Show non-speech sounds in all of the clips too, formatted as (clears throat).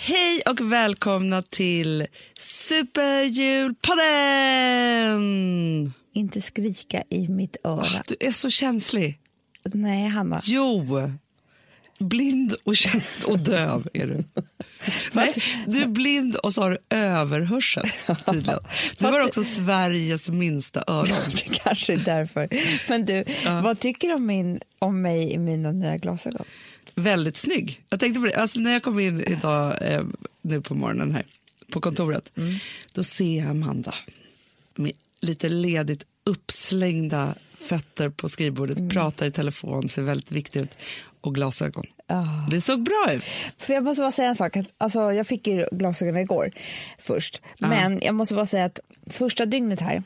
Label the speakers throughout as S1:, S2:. S1: Hej och välkomna till Superjulpodden! Ah,
S2: Inte skrika i mitt öra.
S1: Du är så känslig. (laughs)
S2: Nej, Hanna.
S1: Jo! Blind och, känd och döv är du. Nej, du är blind och så har du överhörsel. tydligen. Du har också Sveriges minsta öron.
S2: Det (laughs) kanske är därför. Men du, vad tycker du om, min, om mig i mina nya glasögon?
S1: Väldigt snygg. Jag tänkte på det. Alltså, när jag kom in idag eh, nu på morgonen här på kontoret, då ser jag Amanda med lite ledigt uppslängda fötter på skrivbordet, pratar i telefon, ser väldigt viktig ut och glasögon. Det såg bra ut.
S2: För jag måste bara säga en sak. att- Alltså, jag fick ju glasögonen igår först. Men jag måste bara säga att första dygnet här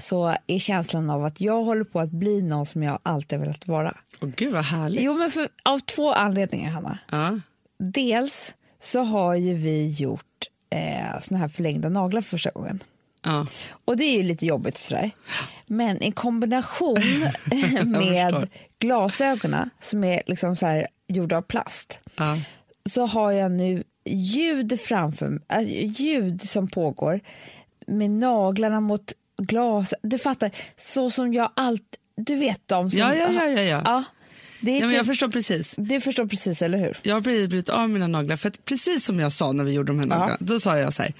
S2: så är känslan av att jag håller på att bli någon som jag alltid har velat vara.
S1: Åh gud vad härligt.
S2: Jo, men för, av två anledningar, Hanna.
S1: Ja.
S2: Dels så har ju vi gjort eh, såna här förlängda naglar för första gången.
S1: Ja.
S2: Och det är ju lite jobbigt sådär. Men
S1: (laughs)
S2: i kombination (laughs) med
S1: förstår.
S2: glasögonen som är liksom så här gjorda av plast
S1: Ja.
S2: så har jag nu ljud framför mig, alltså ljud som pågår med naglarna mot glas. Du fattar, så som jag allt, du vet de som...
S1: Ja, ja, ja, ja, ja.
S2: det är
S1: Ja, men
S2: typ,
S1: jag förstår precis.
S2: Du förstår precis, eller hur?
S1: Jag har precis blivit av mina naglar. För att precis som jag sa när vi gjorde de här naglarna, då sa jag så här.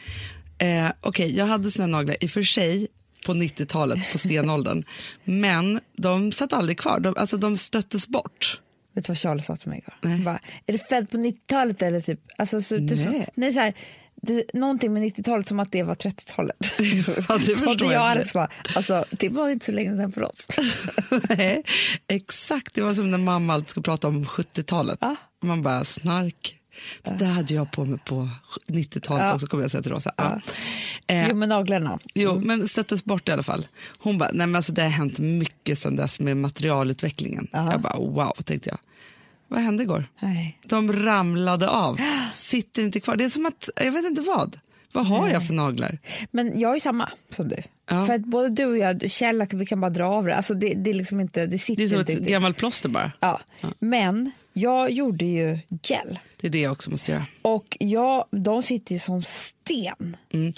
S1: Eh, Okej, jag hade såna här naglar i och för sig på 90-talet, på
S2: (laughs)
S1: stenåldern. men de satt aldrig kvar. De, alltså de stöttes
S2: (laughs)
S1: bort.
S2: Vet du vad Charles sa till mig igår?
S1: Nej.
S2: Han Bara, är det född på 90-talet eller typ? Alltså, så, typ
S1: Nej.
S2: Så, nej, så här, det, någonting med 90-talet som att det var 30-talet.
S1: Ja, det förstår
S2: (laughs) och
S1: (laughs)
S2: det
S1: jag.
S2: jag och Alex bara, alltså det var ju inte så länge sedan för oss.
S1: (laughs) Nej, Exakt, det var som när mamma alltid skulle prata om 70-talet.
S2: Ja.
S1: Man bara snark. Det där hade jag på mig på 90-talet också, kommer jag säga till Rosa. Ja. Eh,
S2: Jo, med naglarna.
S1: Jo, men stöttes bort i alla fall. Hon bara, nej men alltså det har hänt mycket sedan dess med materialutvecklingen. Jag bara, wow, tänkte jag. Vad hände igår?
S2: Nej.
S1: De ramlade av, sitter inte kvar. Det är som att, jag vet inte vad. Vad har jag för naglar?
S2: Men jag är samma som du.
S1: Ja.
S2: För att både du och jag, Kjell, vi kan bara dra av det. Alltså det, det är liksom inte, det sitter
S1: Det är som
S2: inte
S1: ett
S2: riktigt.
S1: gammalt plåster bara.
S2: Ja. Men jag gjorde ju gel.
S1: Det är det jag också måste göra.
S2: Och jag, de sitter ju som sten.
S1: Mm.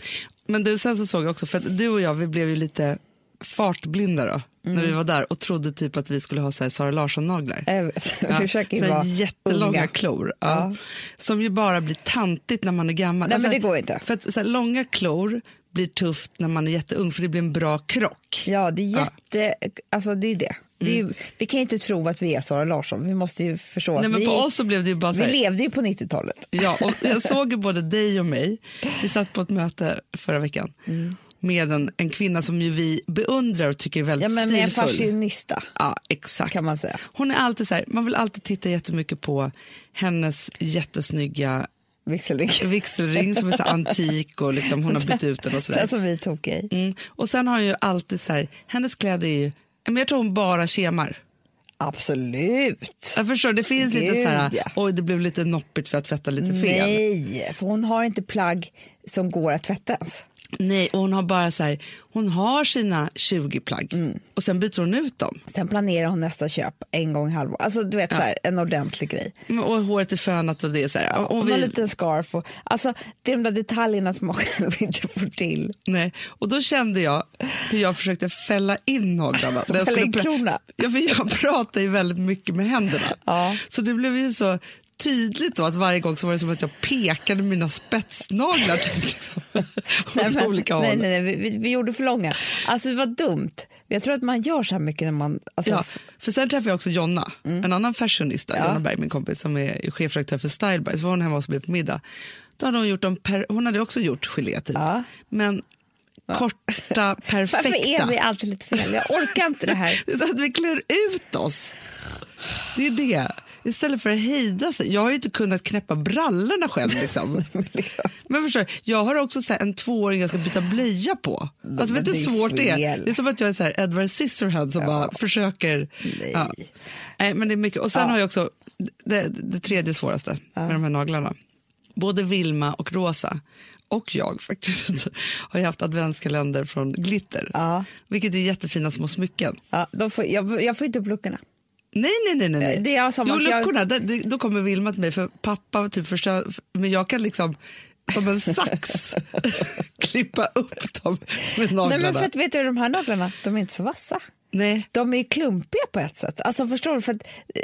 S1: Men du, sen så såg jag också, för att du och jag vi blev ju lite fartblinda då, när
S2: Mm.
S1: vi var där och trodde typ att vi skulle ha så här Sara Larsson-naglar.
S2: Jag vet, (laughs) vi
S1: Ja,
S2: försöker ju
S1: så här
S2: vara
S1: jättelånga
S2: unga.
S1: klor. Ja. Som ju bara blir tantigt när man är gammal.
S2: Nej, men
S1: här-
S2: det går inte.
S1: För att, så här, långa klor blir tufft när man är jätteung för det blir en bra krock.
S2: Ja, det är jätte... Alltså, det är det. Det är ju, vi kan ju inte tro att vi är Sara Larsson. Vi måste ju förstå
S1: Mm. Nej,
S2: att
S1: men
S2: vi,
S1: på oss alltså. så blev det ju bara så
S2: vi
S1: här,
S2: levde ju på 90-talet.
S1: Ja, och jag såg ju både dig och mig. Vi satt på ett möte förra veckan
S2: Mm.
S1: med en, en kvinna som ju vi beundrar och tycker är väldigt
S2: Ja, men med en
S1: stilfull.
S2: fashionista,
S1: Ja, exakt.
S2: kan man säga.
S1: Hon är alltid så här, man vill alltid titta jättemycket på hennes jättesnygga
S2: Vigselring.
S1: vigselring som är så här antik och liksom (laughs) hon har bytt ut den och
S2: (laughs)
S1: sådär.
S2: Den som Alltså, vi tog i.
S1: Mm. Och sen har hon ju alltid så här, hennes kläder är ju, men jag tror hon bara kemar.
S2: Absolut!
S1: Jag förstår, det finns inte så här,
S2: Gud, ja.
S1: oj det blev lite noppigt för jag tvättade lite Äh, fel. Nej.
S2: Nej, för hon har inte plagg som går att tvätta ens.
S1: och hon har bara så här, hon har sina 20 plagg
S2: Mm.
S1: och sen byter hon ut dem.
S2: Sen planerar hon nästa köp en gång i halvår. Alltså, du vet, så här, en ordentlig grej.
S1: Men- Och håret är fönat och det är så här.
S2: Hon
S1: och
S2: har en
S1: vi,
S2: liten scarf. Och, alltså, det är de där detaljerna som man (laughs) själv inte får till.
S1: nej. och då kände jag hur jag försökte fälla in
S2: (laughs)
S1: naglarna. när jag
S2: Fälla
S1: skulle
S2: in
S1: pra-
S2: klorna.
S1: Ja, för jag pratar ju väldigt mycket med händerna.
S2: Ja.
S1: Så det blev ju så tydligt då att varje gång så var det som att jag pekade mina spetsnaglar
S2: (laughs)
S1: typ, liksom, (laughs) åt
S2: men-
S1: olika håll.
S2: nej, nej, nej, vi- vi, vi gjorde för långa. Alltså det var dumt. Jag tror att man gör så här mycket när man... Alltså,
S1: Ja,
S2: f-
S1: för sen träffade jag också Jonna,
S2: Mm.
S1: en annan fashionista, Jonna Berg, min kompis som är chefredaktör för Style By, så var hon hemma hos mig på middag. Då hade hon, gjort dem per, hon hade också gjort gelé typ, men korta, perfekta.
S2: (laughs) varför är vi alltid lite fel? Jag orkar inte det här.
S1: Det är så att vi klär ut oss. Det är det. Istället för att hejda sig. Jag har ju inte kunnat knäppa brallorna själv.
S2: (laughs)
S1: Liksom. Men förstår, du, jag har också så här en tvååring jag ska byta blöja på. Alltså, vet
S2: men
S1: du hur
S2: det är
S1: svårt det är?
S2: fel.
S1: Det är som att jag är så här Edward Scissorhands som bara försöker.
S2: Nej.
S1: Ja. Nej, men det är mycket. Och sen har jag också det, det tredje svåraste med de här naglarna. Både Vilma och Rosa och jag faktiskt (laughs) har ju haft adventskalender från Glitter.
S2: Ja.
S1: Vilket är jättefina små smycken.
S2: Ja, de får, jag, jag får inte upp luckorna.
S1: Nej, nej, nej. nej, nej.
S2: Det är som
S1: jo,
S2: att jag-
S1: luckorna, där- det, då kommer Vilma till mig för pappa typ förstör, men jag kan liksom som en sax
S2: (laughs)
S1: klippa upp dem med
S2: Nej,
S1: naglarna.
S2: men för att, vet du, de här naglarna de är inte så vassa.
S1: nej.
S2: De är ju klumpiga på ett sätt. Alltså förstår du? För att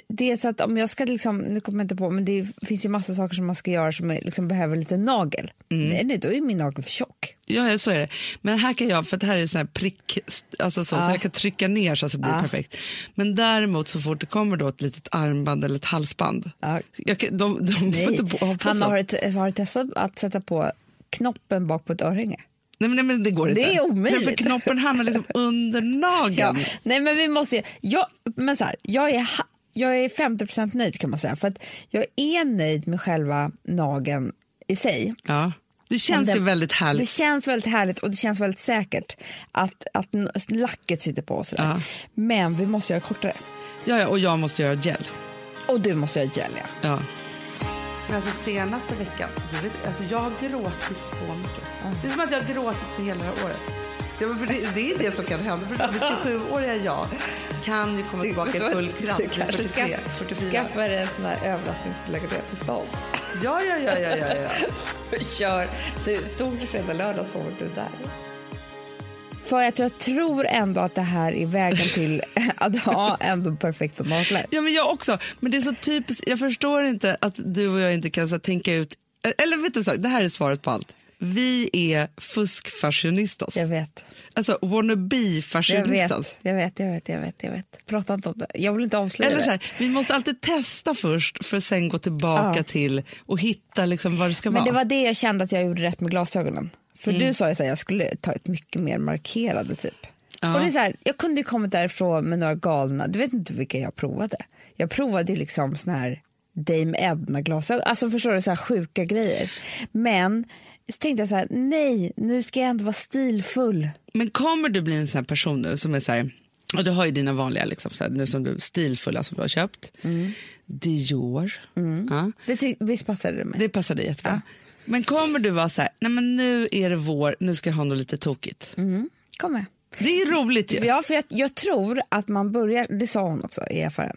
S2: det är så att om jag ska liksom, nu kommer jag inte på, men det finns ju massa saker som man ska göra som är- liksom behöver lite nagel.
S1: Mm.
S2: Nej, nej, då är min nagel för tjock.
S1: Ja, ja, så är det. Men här kan jag, för det här är sån här prick, alltså så, så jag kan trycka ner så att det blir perfekt. Men däremot så fort det kommer då ett litet armband eller ett halsband,
S2: Ja.
S1: jag kan, de, de får
S2: Nej.
S1: inte bo- ha på
S2: Hanna,
S1: så.
S2: har du har du testat att sätta på knoppen bak på ett örhänge?
S1: Nej, men, nej, men det går
S2: Det
S1: inte.
S2: är omöjligt.
S1: Nej, för knoppen hamnar liksom under
S2: (laughs) Ja.
S1: nageln.
S2: Nej, men vi måste ju, jag, men så här, jag är, ha- jag är 50 nöjd kan man säga, för att jag är nöjd med själva nageln i sig.
S1: Ja. Det
S2: Men
S1: känns
S2: det-
S1: ju väldigt
S2: Det
S1: härligt.
S2: känns väldigt härligt och det känns väldigt säkert att, att n- lacket sitter på och sådär.
S1: Ja.
S2: Men vi måste göra kortare.
S1: Ja, ja, och jag måste göra gel.
S2: Och du måste göra gel, ja.
S1: Ja. Men alltså senaste veckan, du vet, alltså jag har gråtit så mycket. Det är som att jag har gråtit för hela det här året. Ja, men för det, det är det som kan hända. För det 27-åriga jag kan ju komma tillbaka i full kraft
S2: Du
S1: vid
S2: kanske
S1: 43,
S2: ska-
S1: 44.
S2: skaffar en sån här överraskningslägenhet till stan.
S1: Ja, ja, ja, ja, ja, ja.
S2: (laughs) Kör. Du, torsdag, fredag, lördag sover du där. För att jag tror ändå att det här är vägen (laughs) till att ha ändå perfekta naglar.
S1: Ja, men jag också. Men det är så typiskt. Jag förstår inte att du och jag inte kan så, här, tänka ut... Eller vet du, så, det här är svaret på allt. Vi är fuskfashionistas.
S2: Jag vet.
S1: Alltså
S2: Jag vet,
S1: wannabe-fashionistas.
S2: jag vet, jag vet, jag vet, jag vet. Prata inte om det. Jag vill inte avslöja
S1: Eller
S2: det.
S1: så här, vi måste alltid testa först för att sen gå tillbaka
S2: Ja.
S1: till och hitta liksom vad det ska
S2: Men
S1: vara.
S2: det var det jag kände att jag gjorde rätt med glasögonen. För du sa ju så här, jag skulle ta ett mycket mer markerade typ. Och det är så här, jag kunde ju kommit därifrån med några galna, du vet inte vilka jag provade. Jag provade ju liksom sån här Dame Edna glasögon, alltså förstår du så här sjuka grejer. Men så tänkte jag så här, nej nu ska jag inte vara stilfull.
S1: Men kommer du bli en sån här person nu som är så här, och du har ju dina vanliga liksom, så här, nu som du, stilfulla som du har köpt,
S2: Mm.
S1: Dior, ja,
S2: Det ty- visst passade det mig?
S1: det passar dig jättebra. Men kommer du vara så här, nej men nu är det vår, nu ska jag ha något lite tokigt.
S2: Mm. Kom med.
S1: Det är roligt ju.
S2: Ja, för jag, jag tror att man börjar, det sa hon också i affären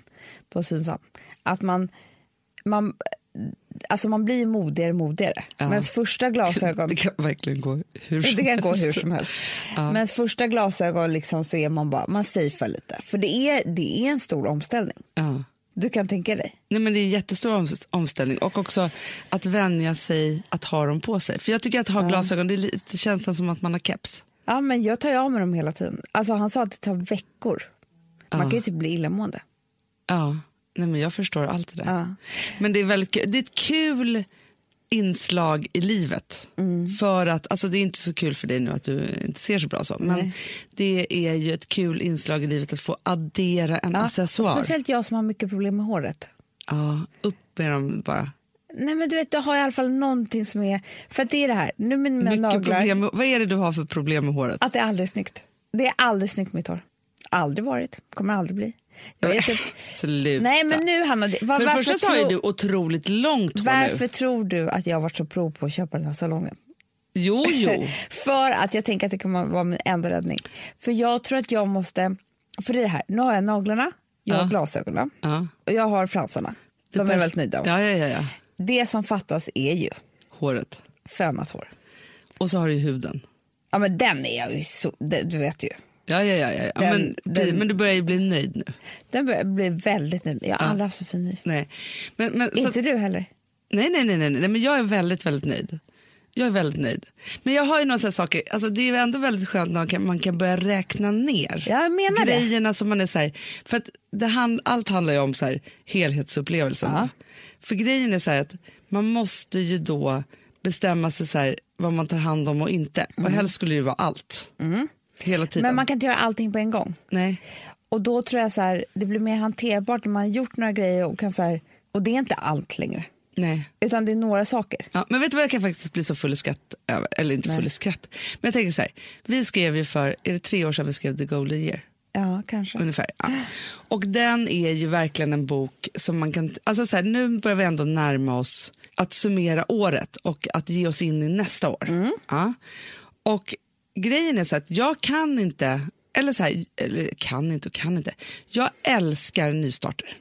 S2: på Synsam, att man, man, alltså man blir modigare och modigare. Men ens första glasögon,
S1: Det kan verkligen gå hur som
S2: (laughs) det kan gå hur som helst. Men ens första glasögon liksom så är man bara, man safear lite. För det är, det är en stor omställning.
S1: Ja.
S2: Du kan tänka dig.
S1: Nej, men det är en jättestor oms- omställning och också att vänja sig att ha dem på sig. För jag tycker att ha glasögon, det är lite känslan som att man har keps.
S2: Ja, men jag tar ju av mig dem hela tiden. Alltså han sa att det tar veckor. Man kan ju typ bli illamående.
S1: Ja, nej, men jag förstår allt det där.
S2: Ja.
S1: Men det är, väldigt, kul- det är ett kul inslag i livet.
S2: Mm.
S1: För att, alltså det är inte så kul för dig nu att du inte ser så bra så, men det är ju ett kul inslag i livet att få addera en
S2: Ja,
S1: accessoar.
S2: och speciellt Alltså, jag som har mycket problem med håret.
S1: Ja, upp med dem bara.
S2: Nej men du vet, jag har i alla fall någonting som är, för att det är det här, nu med mina
S1: Mycket
S2: naglar,
S1: problem, med- vad är det du har för problem med håret?
S2: att det är aldrig snyggt. Det är aldrig snyggt med mitt hår. Aldrig varit, kommer aldrig bli. Jag
S1: (laughs)
S2: vet inte.
S1: Sluta.
S2: Nej men nu Hanna, det- var,
S1: För det
S2: varför,
S1: första så har ju
S2: tro-
S1: du otroligt långt hår
S2: varför
S1: nu.
S2: tror du att jag har varit så prov på att köpa den här salongen?
S1: Jo, jo.
S2: För att jag tänker att det kommer vara min enda räddning. För jag tror att jag måste, för det är det här, nu har jag naglarna, jag har
S1: Ja.
S2: glasögonen
S1: (laughs) Ja.
S2: och jag har fransarna. De är jag väldigt nöjda med.
S1: Ja, ja, ja, ja.
S2: Det som fattas är ju
S1: Håret.
S2: fönat hår.
S1: Och så har du ju huden.
S2: Ja men den är jag ju så, det, du vet ju.
S1: Ja, ja, ja. ja. ja
S2: Den-
S1: men, bli-
S2: den-
S1: men du börjar ju bli nöjd nu.
S2: Den börjar bli väldigt nöjd. Jag har aldrig haft så fin hy.
S1: Nej, men, men, så,
S2: Inte du heller.
S1: nej, nej, nej, nej, nej, men jag är väldigt, väldigt nöjd. Jag är väldigt nöjd. Men jag har ju några sådana saker, alltså det är ju ändå väldigt skönt när man kan, man kan börja räkna ner
S2: Jag menar det.
S1: grejerna som man är så här, för att det hand, allt handlar ju om så här, helhetsupplevelsen. För grejen är så här att man måste ju då bestämma sig så här, vad man tar hand om och inte. Och helst skulle det ju vara allt. Hela tiden.
S2: Mm. Men man kan inte göra allting på en gång.
S1: Nej.
S2: Och då tror jag så här, det blir mer hanterbart när man har gjort några grejer och kan så här, och det är inte allt längre.
S1: Nej.
S2: Utan det är några saker.
S1: Ja, men vet du vad jag kan faktiskt bli så full i skratt över? Eller inte full i skratt. Men jag tänker så här, vi skrev ju för, är det tre år sedan vi skrev The Golden Year?
S2: Ja, kanske.
S1: Ungefär. Ja. Och den är ju verkligen en bok som man kan, alltså så här, nu börjar vi ändå närma oss att summera året och att ge oss in i nästa år. Ja. Och grejen är så att jag kan inte eller så här, eller kan inte och kan inte. Jag älskar nystarter.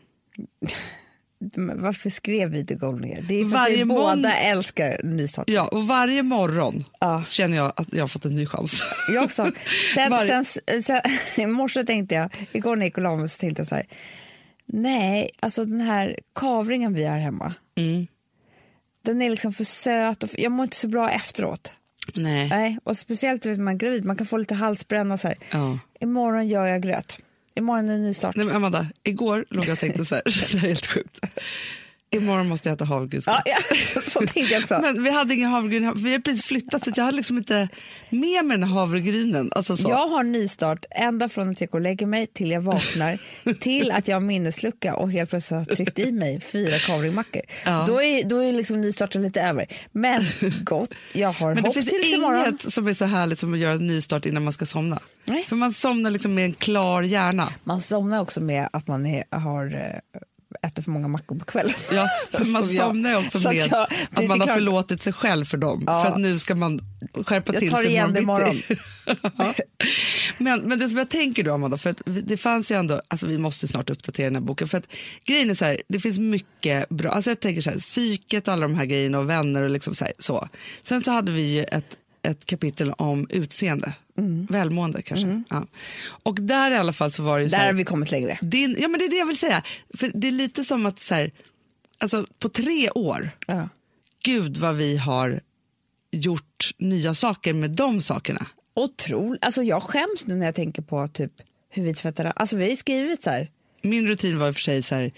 S2: Men varför skrev vi det ner? Det är för
S1: Varje
S2: att vi
S1: mån-
S2: båda älskar nystarter.
S1: Ja, och varje morgon
S2: Ja.
S1: så känner jag att jag har fått en ny chans.
S2: Jag också. Sen,
S1: Varje-
S2: sen, sen, (laughs) I morse tänkte jag, igår när jag gick och la mig så tänkte jag så här, nej, alltså den här kavringen vi har hemma, den är liksom för söt och för, jag mår inte så bra efteråt.
S1: Nej.
S2: Nej, och speciellt du vet, när man är gravid, man kan få lite halsbränna så här.
S1: Ja.
S2: Imorgon gör jag gröt. Imorgon är det nystart.
S1: Nej men Amanda, igår låg jag och tänkte så här, (laughs) det här är helt sjukt. Imorgon måste jag äta havregrynsgröt.
S2: Ja, ja, (laughs) så tänkte jag också.
S1: Men vi hade ingen havregryn, här, för vi har precis flyttat så att jag hade liksom inte med mig den här havregrynen. Alltså så.
S2: Jag har nystart ända från att jag går och lägger mig till jag vaknar till att jag har minneslucka och helt plötsligt har tryckt i mig fyra kavringmackor.
S1: Ja.
S2: Då är, då är liksom nystarten lite över. Men gott, jag har
S1: Men det
S2: hopp
S1: finns
S2: till
S1: inget
S2: imorgon.
S1: som är så härligt som att göra en nystart innan man ska somna.
S2: Nej.
S1: För man somnar liksom med en klar hjärna.
S2: Man somnar också med att man är, har eh, ätit för många mackor på kvällen. (laughs)
S1: Ja, för man
S2: Som jag.
S1: somnar ju också
S2: Så att
S1: med att,
S2: jag- det- det är
S1: man har
S2: klart-
S1: förlåtit sig själv för dem.
S2: Ja.
S1: För att nu ska man skärpa
S2: Jag
S1: till
S2: tar
S1: sig
S2: igen det
S1: bitti. (laughs) Ja. men, men det som jag tänker då Amanda, för att vi- det fanns ju ändå, alltså vi måste snart uppdatera den här boken. För att grejen är så här, det finns mycket bra, alltså jag tänker så här, psyket och alla de här grejerna och vänner och liksom så, här, så. Sen så hade vi ju ett, ett kapitel om utseende,
S2: Mm.
S1: välmående kanske. Ja. Och där i alla fall så var det ju så
S2: Där
S1: här,
S2: har vi kommit längre.
S1: din, ja men det är det jag vill säga. För det är lite som att så här, alltså på tre år,
S2: Ja.
S1: gud vad vi har gjort nya saker med de sakerna.
S2: Otroligt. Alltså jag skäms nu när jag tänker på typ hur vi tvättar. Alltså vi har ju skrivit så här.
S1: Min rutin var i och för sig så här,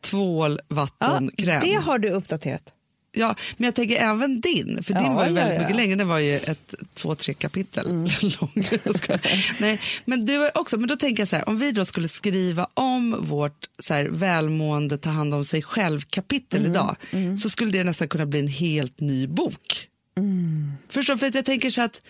S1: tvål,
S2: Ja,
S1: vatten, kräm.
S2: det har du uppdaterat.
S1: Ja, men jag tänker även din, för din
S2: Ja,
S1: var ju
S2: ja,
S1: väldigt
S2: ja. Mm.
S1: mycket längre. Den var ju ett, två, tre kapitel (laughs) lång. Jag skojar.
S2: (laughs)
S1: Nej, men du är också, men då tänker jag så här, om vi då skulle skriva om vårt så här, välmående, ta hand om sig själv-kapitel
S2: Mm.
S1: idag, så skulle det nästan kunna bli en helt ny bok. Förstår du? För att jag tänker så att,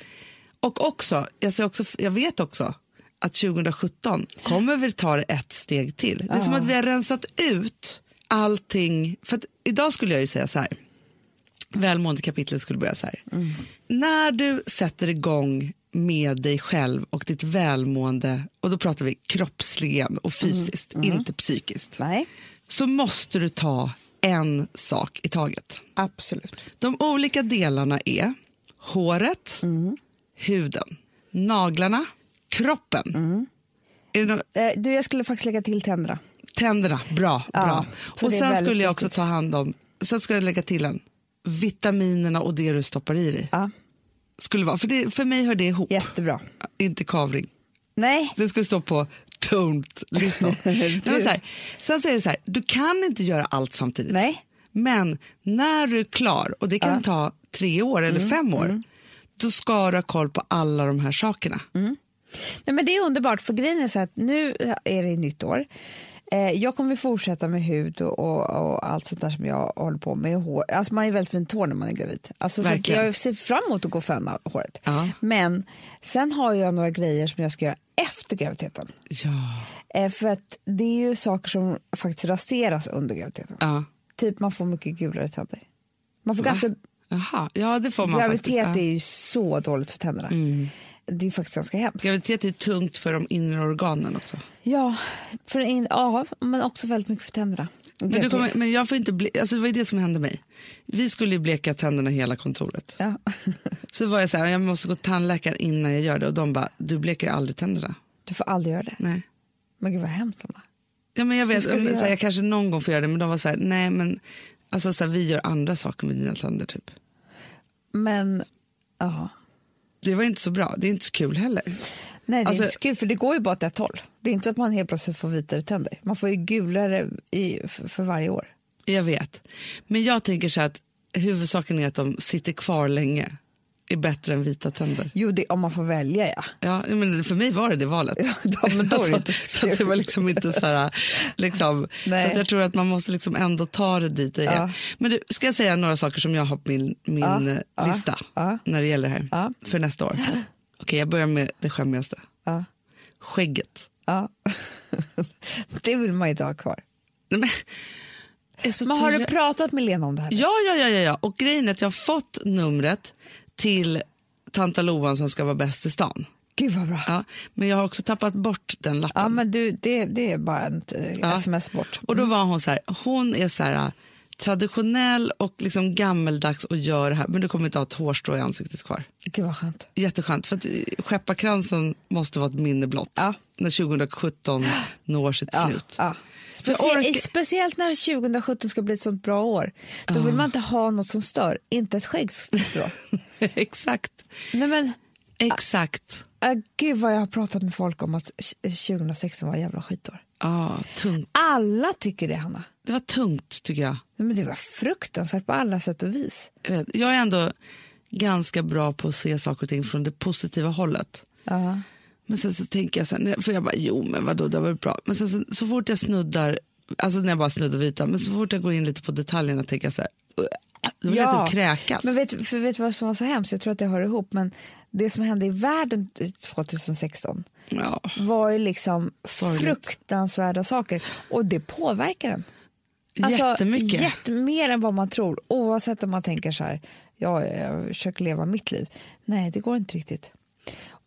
S1: och också, jag, ser också, jag vet också att 2017 kommer vi ta det ett steg till. Det är som att vi har rensat ut allting. För att idag skulle jag ju säga så här, välmående kapitlet skulle börja så här. När du sätter igång med dig själv och ditt välmående, och då pratar vi kroppsligen och fysiskt, inte psykiskt,
S2: Nej,
S1: så måste du ta en sak i taget.
S2: absolut.
S1: De olika delarna är håret, huden, naglarna, kroppen. Är det no-
S2: Eh, du, jag skulle faktiskt lägga till tänderna.
S1: Tänderna, bra.
S2: Ja,
S1: bra.
S2: så
S1: Och
S2: det är
S1: sen
S2: väldigt
S1: skulle jag också ta hand om, sen ska jag lägga till en, vitaminerna och det du stoppar i dig.
S2: Ja,
S1: Skulle vara, för, det, för mig hör det ihop,
S2: jättebra.
S1: inte kavring.
S2: Nej,
S1: Det skulle stå på
S2: (laughs)
S1: don't-listan. Nej, men så här, sen så är det så här, du kan inte göra allt samtidigt.
S2: Nej.
S1: Men när du är klar, och det kan ta tre år eller
S2: Mm,
S1: fem år, då ska du ha koll på alla de här sakerna.
S2: Mm. Nej men det är underbart för grejen är så att nu är det nytt år. Eh, jag kommer fortsätta med hud och, och, och allt sånt där som jag håller på med. och Hår. Alltså man är väldigt fint hår när man är gravid. Alltså, så att
S1: Verkligen.
S2: jag ser fram emot att gå och föna håret.
S1: Ja.
S2: Men sen har jag några grejer som jag ska göra efter graviditeten.
S1: Ja.
S2: Eh, för att det är ju saker som faktiskt raseras under graviditeten.
S1: ja.
S2: Typ man får mycket gulare tänder. Man får ganska
S1: Jaha, ja det får man
S2: Graviditet
S1: faktiskt. Ja. Mm.
S2: är ju så dåligt för tänderna. Det är faktiskt ganska hemskt.
S1: Graviditet är tungt för de inre organen också.
S2: Ja, för in, ja, men också väldigt mycket för tänderna.
S1: Men, du kommer, men jag får inte ble, alltså det var ju det som hände mig. Vi skulle ju bleka tänderna i hela kontoret.
S2: ja. (laughs)
S1: Så var jag så här, jag måste gå till tandläkaren innan jag gör det. Och de bara, du bleker aldrig tänderna.
S2: Du får aldrig göra det.
S1: Nej.
S2: Men gud vad hemskt. Anna.
S1: Ja, men jag vet,
S2: skulle
S1: men,
S2: du
S1: så här,
S2: göra?
S1: jag kanske någon gång får göra det, men de var så här, nej men alltså, så här, vi gör andra saker med dina tänder typ.
S2: Men ja.
S1: Det var inte så bra, det är inte så kul heller.
S2: Nej, det
S1: Alltså-
S2: är inte så kul, för det går ju bara åt ett håll. Det är inte så att man helt plötsligt får vitare tänder. Man får ju gulare i, för, för varje år.
S1: Jag vet, men jag tänker så här att huvudsaken är att de sitter kvar länge, är bättre än vita tänder.
S2: Jo, det, om man får välja ja.
S1: Ja, men för mig var det det valet.
S2: Ja, men (laughs) då är det inte så
S1: alltså, så att det var liksom inte så här, liksom, så
S2: Nej.
S1: att jag tror att man måste liksom ändå ta det dit det är.
S2: Ja.
S1: Men du, ska jag säga några saker som jag har på min, min
S2: Ja,
S1: eh,
S2: ja,
S1: lista
S2: ja.
S1: när det gäller det här
S2: Ja.
S1: för nästa år? Okej, jag börjar med det skämmigaste.
S2: ja.
S1: Skägget.
S2: ja. (laughs) det vill man ju inte ha kvar.
S1: Nej, men, är så
S2: Men har du
S1: trött.
S2: pratat med Lena om det här?
S1: Ja, ja, ja, ja, ja. Och grejen är att jag har fått numret till Tanta Loan som ska vara bäst i stan.
S2: Gud vad bra.
S1: Ja, men jag har också tappat bort den lappen.
S2: Ja, men du, det, det är bara ett eh,
S1: Ja.
S2: sms bort.
S1: Och då var hon så här, hon är så här äh, traditionell och liksom gammeldags och gör det här, men du kommer inte ha ett hårstrå i ansiktet kvar.
S2: Gud vad skönt.
S1: Jätteskönt, för att eh, skepparkransen måste vara ett minne blott
S2: Ja.
S1: när
S2: (gasps)
S1: 2017 når sitt slut.
S2: Ja.
S1: Jag
S2: Specie-
S1: orkar-
S2: Speciellt när 2017 ska bli ett sånt bra år. Då
S1: Ah.
S2: vill man inte ha något som stör, inte
S1: (laughs)
S2: ett skäggstrå.
S1: (laughs) exakt,
S2: Nej men,
S1: exakt.
S2: äh, gud vad jag har pratat med folk om att tj- 2016 var ett jävla skitår.
S1: Ja, tungt.
S2: Alla tycker det, Hanna.
S1: Det var tungt tycker jag.
S2: Nej, men det var fruktansvärt på alla sätt och vis.
S1: Jag, vet, jag är ändå ganska bra på att se saker och ting från det positiva hållet.
S2: Ja.
S1: Men sen så tänker jag så här, nej, för jag bara, jo men vadå, det var väl bra. Men sen så, så fort jag snuddar, alltså när jag bara snuddar vita, men så fort jag går in lite på detaljerna tänker jag så här, "Ugh." då vill jag typ kräkas.
S2: Men vet, för vet du vad som var så hemskt? Jag tror att det hör ihop. Men det som hände i världen 2016
S1: ja.
S2: var ju liksom
S1: Sorgligt.
S2: fruktansvärda saker. Och det påverkar en.
S1: Jättemycket.
S2: jätte- Alltså, mer än vad man tror. Oavsett om man tänker så här, ja, jag försöker leva mitt liv. Nej, det går inte riktigt.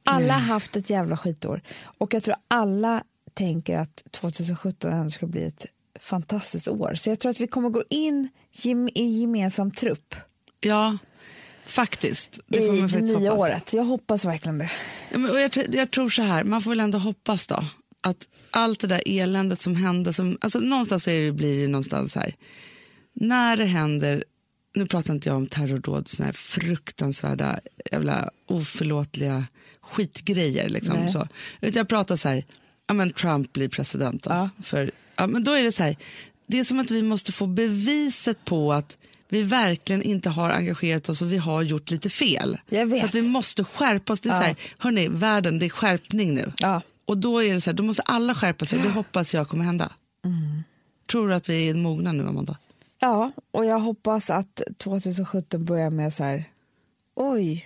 S2: Alla har haft ett jävla skitår. Och jag tror alla tänker att 2017 ändå ska bli ett fantastiskt år. Så jag tror att vi kommer gå in gem- i gemensam trupp
S1: ja, faktiskt. Det får
S2: i
S1: man
S2: det
S1: faktiskt
S2: nya
S1: hoppas.
S2: året. Jag hoppas verkligen det.
S1: Ja, men, och jag, tr- jag tror så här, man får väl ändå hoppas då. Att allt det där eländet som hände, som, alltså någonstans är det, blir det någonstans så här. När det händer, nu pratar inte jag om terrordåd, såna här fruktansvärda jävla oförlåtliga skitgrejer liksom.
S2: Nej.
S1: Så. Utan jag pratar så här, ja men Trump blir president då. För, ja, men då är det så här, det är som att vi måste få beviset på att vi verkligen inte har engagerat oss och vi har gjort lite fel.
S2: Jag vet.
S1: Så att vi måste skärpa oss. Det är så här, hörni, världen, det är skärpning nu.
S2: Ja.
S1: Och då är det så här, då måste alla skärpa sig och det hoppas jag kommer hända.
S2: Mm.
S1: Tror du att vi är mogna nu, Amanda?
S2: Ja, och jag hoppas att 2017 börjar med så här, oj,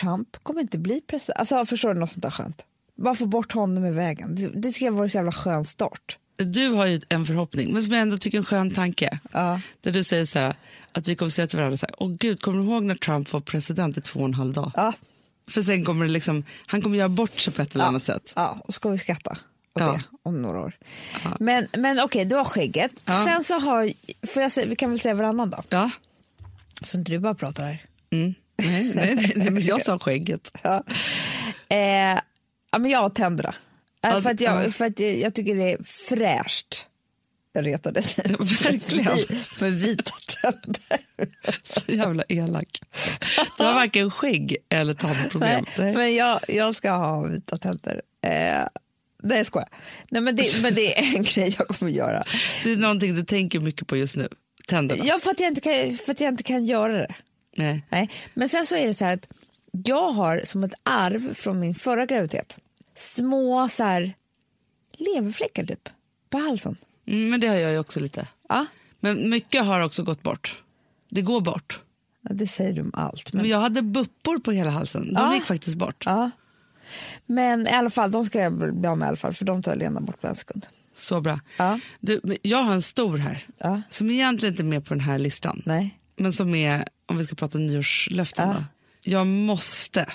S2: Trump kommer inte bli president. Alltså förstår du något sånt där skönt? Bara få bort honom i vägen. Det, det ska vara en så jävla skön start.
S1: Du har ju en förhoppning, men som jag ändå tycker är en skön tanke.
S2: Ja.
S1: Där du säger så här, att vi kommer säga till varandra så här, åh gud, kommer du ihåg när Trump var president i två och en halv dag?
S2: Ja,
S1: För sen kommer det liksom, han kommer göra bort sig på ett eller annat sätt.
S2: ja och så kommer vi skratta åt
S1: Ja.
S2: det om några år. Men, men okej, du har skägget.
S1: Ja.
S2: Sen så har, får jag säga, vi kan väl säga varannan då?
S1: Ja.
S2: Så inte du bara pratar här.
S1: Mm. Nej, nej, nej, nej, men (laughs) jag sa skägget.
S2: Ja. Eh, ja, men jag har tänderna. Eh,
S1: Ja,
S2: för att jag,
S1: ja.
S2: för att jag, jag tycker det är fräscht. Jag retade
S1: (laughs)
S2: mig.
S1: Verkligen.
S2: För- För (laughs) vita tänder.
S1: (laughs) Så jävla elak. Du
S2: (laughs)
S1: har varken skägg eller tandproblem.
S2: Nej,
S1: Nej.
S2: men jag, jag ska ha vita tänder. Eh, nej, jag skojar. Nej, men, det, men det är en (laughs) grej jag kommer göra.
S1: Det är någonting du tänker mycket på just nu. Tänderna.
S2: Ja, för, att jag inte kan, för att jag inte kan göra det.
S1: Nej.
S2: Nej. Men sen så är det så här att jag har som ett arv från min förra graviditet små så här, leverfläckar typ, på halsen.
S1: Mm, men det har jag ju också lite.
S2: Ja,
S1: Men mycket har också gått bort. Det går bort.
S2: det säger du om allt. Men,
S1: Men jag hade buppor på hela halsen. De
S2: Ja.
S1: gick faktiskt bort.
S2: ja. men i alla fall, de ska jag bli av med i alla fall, för de tar Lena bort på en sekund.
S1: Så bra.
S2: Ja.
S1: Du, men jag har en stor här,
S2: Ja.
S1: som egentligen inte är med på den här listan.
S2: Nej.
S1: Men som är, om vi ska prata nyårslöften
S2: Ja.
S1: då. Jag måste,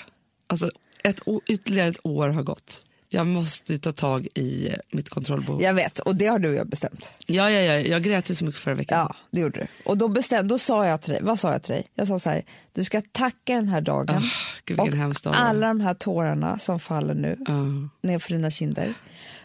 S1: alltså ett, å- ytterligare ett år har gått. Jag måste ju ta tag i eh, mitt kontrollbehov.
S2: Jag vet, och det har du och jag bestämt.
S1: Ja, ja, ja, jag grät ju så mycket förra veckan.
S2: Ja, det gjorde du. Och då, bestäm, då sa jag till dig, vad sa jag till dig? Jag sa så här, du ska tacka den här dagen
S1: Ah, gud, vilken hemsk dag
S2: och
S1: det var.
S2: alla de här tårarna som faller nu
S1: Ja.
S2: nerför dina kinder.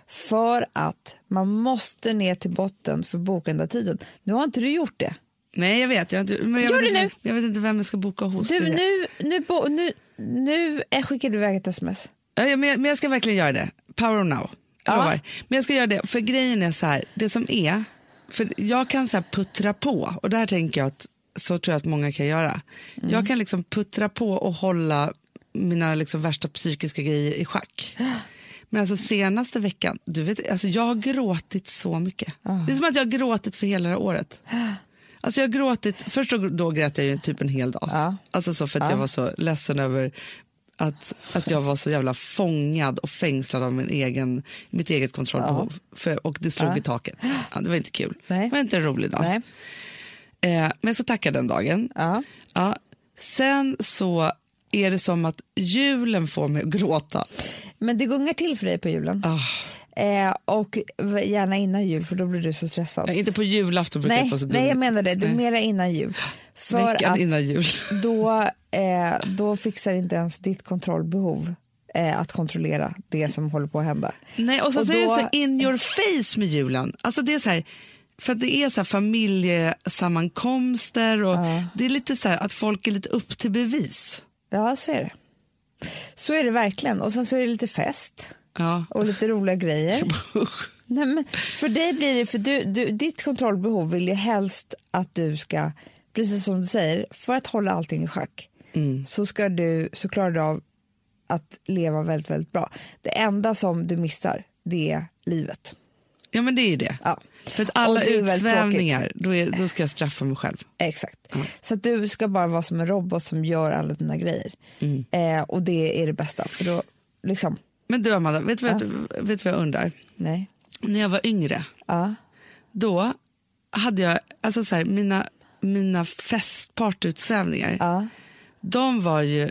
S2: För att man måste ner till botten för bokenda tiden. Nu har inte du gjort det.
S1: Nej, jag vet. Jag, har inte- men jag,
S2: Gör
S1: vet
S2: det
S1: inte, jag vet inte vem jag ska boka hos.
S2: Du,
S1: det är-
S2: nu, nu, bo- nu, nu eh, skickar du iväg ett sms.
S1: Ja, ja, men, jag, men jag ska verkligen göra det. Power now. Jag
S2: Ja.
S1: lovar. Men jag ska göra det, för grejen är så här, det som är, för jag kan så här puttra på, och där tänker jag att så tror jag att många kan göra.
S2: Mm.
S1: Jag kan liksom puttra på och hålla mina liksom värsta psykiska grejer i schack. Men alltså senaste veckan, du vet, alltså jag har gråtit så mycket. Det är som att jag har gråtit för hela det här
S2: (gasps)
S1: året. Alltså jag har gråtit, först då, då grät jag ju typ en hel dag.
S2: Ja.
S1: Alltså så för att jag var så ledsen över att, att jag var så jävla fångad och fängslad av min egen, mitt eget kontrollbehov. För, och det slog i taket. Ja, det var inte kul.
S2: Nej.
S1: Det var inte en rolig dag.
S2: Nej.
S1: Eh, men jag ska tacka den dagen.
S2: Ja.
S1: Ja. Sen så är det som att julen får mig att gråta.
S2: Men det gungar till för dig på julen.
S1: Ah,
S2: Eh, och gärna innan jul för då blir du så stressad.
S1: inte på julafton brukar det
S2: nej,
S1: vara så
S2: nej, jag
S1: gulligt.
S2: menar det. det är
S1: Nej.
S2: mera innan
S1: (gasps)
S2: jul. För
S1: Veckan
S2: att
S1: innan jul.
S2: då, eh, då fixar inte ens ditt kontrollbehov eh, att kontrollera det som håller på att hända.
S1: Nej, och sen
S2: Och
S1: så är det
S2: då-
S1: så in your face med julen. Alltså det är så här, för att det är så här familjesammankomster och det är lite så här att folk är lite upp till bevis.
S2: Ja, så är det. Så är det verkligen. Och sen så är det lite fest
S1: Ja. (laughs)
S2: och lite roliga grejer.
S1: Usch.
S2: Nej, men för dig blir det, för du, du, ditt kontrollbehov vill ju helst att du ska, precis som du säger, för att hålla allting i schack så, ska du, så klarar du av att leva väldigt, väldigt bra. Det enda som du missar, det är livet.
S1: Ja men det är ju det.
S2: Ja.
S1: För att alla
S2: Och det är väldigt
S1: utsvävningar, då, är, då ska jag straffa mig själv.
S2: Exakt. Så att du ska bara vara som en robot som gör alla dina grejer. Eh, och det är det bästa, för då liksom,
S1: Men du Amanda, vet du vad, jag- vet du vad jag undrar?
S2: nej.
S1: När jag var yngre,
S2: Ja.
S1: då hade jag, alltså så här, mina, mina festpartutsvävningar,
S2: Ja.
S1: de var ju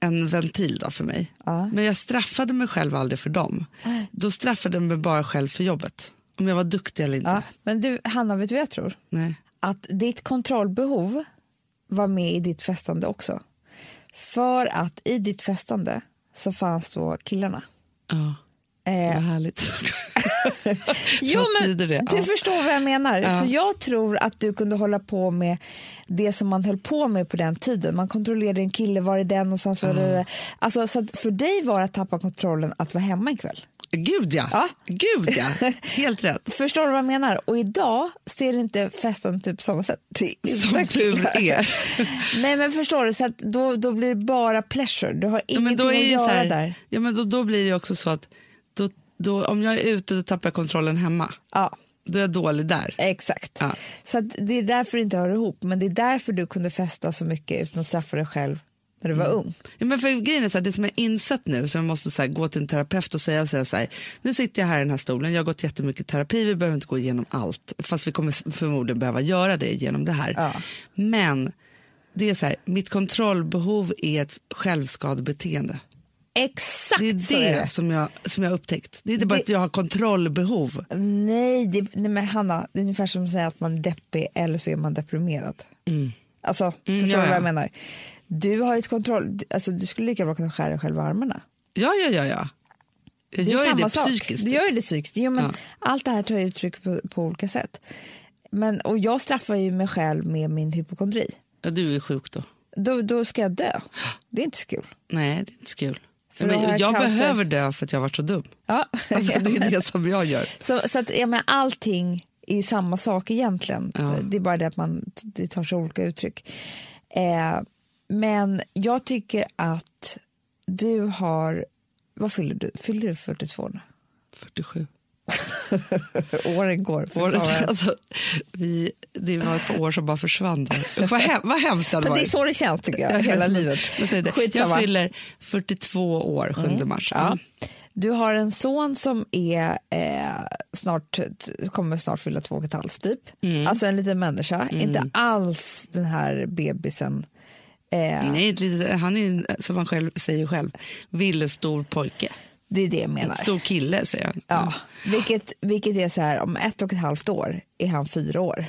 S1: en ventil då för mig.
S2: Ja.
S1: Men jag straffade mig själv aldrig för dem. Då straffade jag mig bara själv för jobbet. Om jag var duktig eller inte.
S2: Ja. Men du, Hanna, vet du vad jag tror?
S1: Nej.
S2: att ditt kontrollbehov var med i ditt festande också. För att i ditt festande så fanns då killarna.
S1: Ja,
S2: Eh,
S1: vad härligt.
S2: (laughs) jo, men
S1: betyder
S2: du
S1: det? Ja.
S2: förstår vad jag menar. Så jag tror att du kunde hålla på med det som man höll på med på den tiden. Man kontrollerade en kille, var är den och sen så var det... Alltså, så att för dig var det att tappa kontrollen att vara hemma en kväll.
S1: Gud ja.
S2: Ja.
S1: Gud ja, helt rätt.
S2: Förstår du vad jag menar? Och idag ser det inte festandet ut på samma sätt. Det är
S1: Som
S2: inte
S1: tur
S2: killar.
S1: är.
S2: (laughs) Nej men förstår du, så att då, då blir det bara pleasure. Du har
S1: Ja,
S2: ingenting
S1: men då, är
S2: att
S1: ju
S2: göra
S1: så här,
S2: där.
S1: Ja, men då, då blir det ju också så att då, då, om jag är ute då tappar jag kontrollen hemma.
S2: Ja,
S1: Då är jag dålig där.
S2: exakt.
S1: Ja.
S2: Så att det är därför det inte hör ihop. Men det är därför du kunde festa så mycket utan att straffa dig själv när du var
S1: Mm.
S2: ung.
S1: Ja, men för grejen är så här, det som jag har insett nu, så jag måste så här, gå till en terapeut och säga, och säga så här, nu sitter jag här i den här stolen, jag har gått jättemycket terapi, vi behöver inte gå igenom allt, fast vi kommer förmodligen behöva göra det genom det här.
S2: Ja.
S1: Men det är så här, mitt kontrollbehov är ett självskadebeteende.
S2: Exakt
S1: Det är
S2: så är det.
S1: det som jag, som jag har upptäckt. Det är inte bara
S2: Det-
S1: att jag har kontrollbehov.
S2: Nej, det, nej men Hanna, det är ungefär som att säga att man är deppig eller så är man deprimerad. Alltså, förstår
S1: Mm. ja,
S2: du vad
S1: ja.
S2: jag menar? Du har ju ett kontroll, alltså du skulle lika bra kunna skära dig själv i armarna.
S1: Ja, ja, ja, ja. Jag
S2: Det är
S1: gör ju
S2: samma
S1: det
S2: sak.
S1: psykiskt.
S2: Du gör ju det psykiskt. Jo, men
S1: Ja.
S2: Allt det här tar ju uttryck på, på olika sätt. Men, och jag straffar ju mig själv med min hypokondri.
S1: Ja, du är sjuk då.
S2: Då, då ska jag dö. Det är inte så kul.
S1: Nej, det är inte så kul.
S2: För
S1: men
S2: då har
S1: jag
S2: jag cancer.
S1: behöver dö för att jag har varit så dum.
S2: Ja.
S1: Alltså, det är
S2: (laughs)
S1: det som jag gör.
S2: så så att, jag menar, allting är ju samma sak egentligen.
S1: Ja.
S2: Det är bara det att man, det tar sig olika uttryck. Eh, men jag tycker att du har... Vad fyller du? Fyller du 42 nu?
S1: 47.
S2: (laughs) Åren går. fy fan vad-
S1: Året, alltså, vi, det var ett par år som bara försvann. Där. Vad, hem, vad hemskt det hade
S2: Men det är
S1: varit.
S2: så det känns tycker jag, hela livet.
S1: Men så är det.
S2: Skitsamma.
S1: Jag fyller 42 år 7 mars.
S2: Ja.
S1: Mm.
S2: Du har en son som är, eh, snart, kommer snart fylla två och ett halvt typ. Alltså en liten människa, inte alls den här bebisen. Eh,
S1: Mm. Nej, ett litet- han är ju, som han själv säger själv, ville stor pojke.
S2: det är det jag menar.
S1: Stor kille säger han.
S2: Ja. Vilket, vilket är så här, om ett och ett halvt år är han fyra år.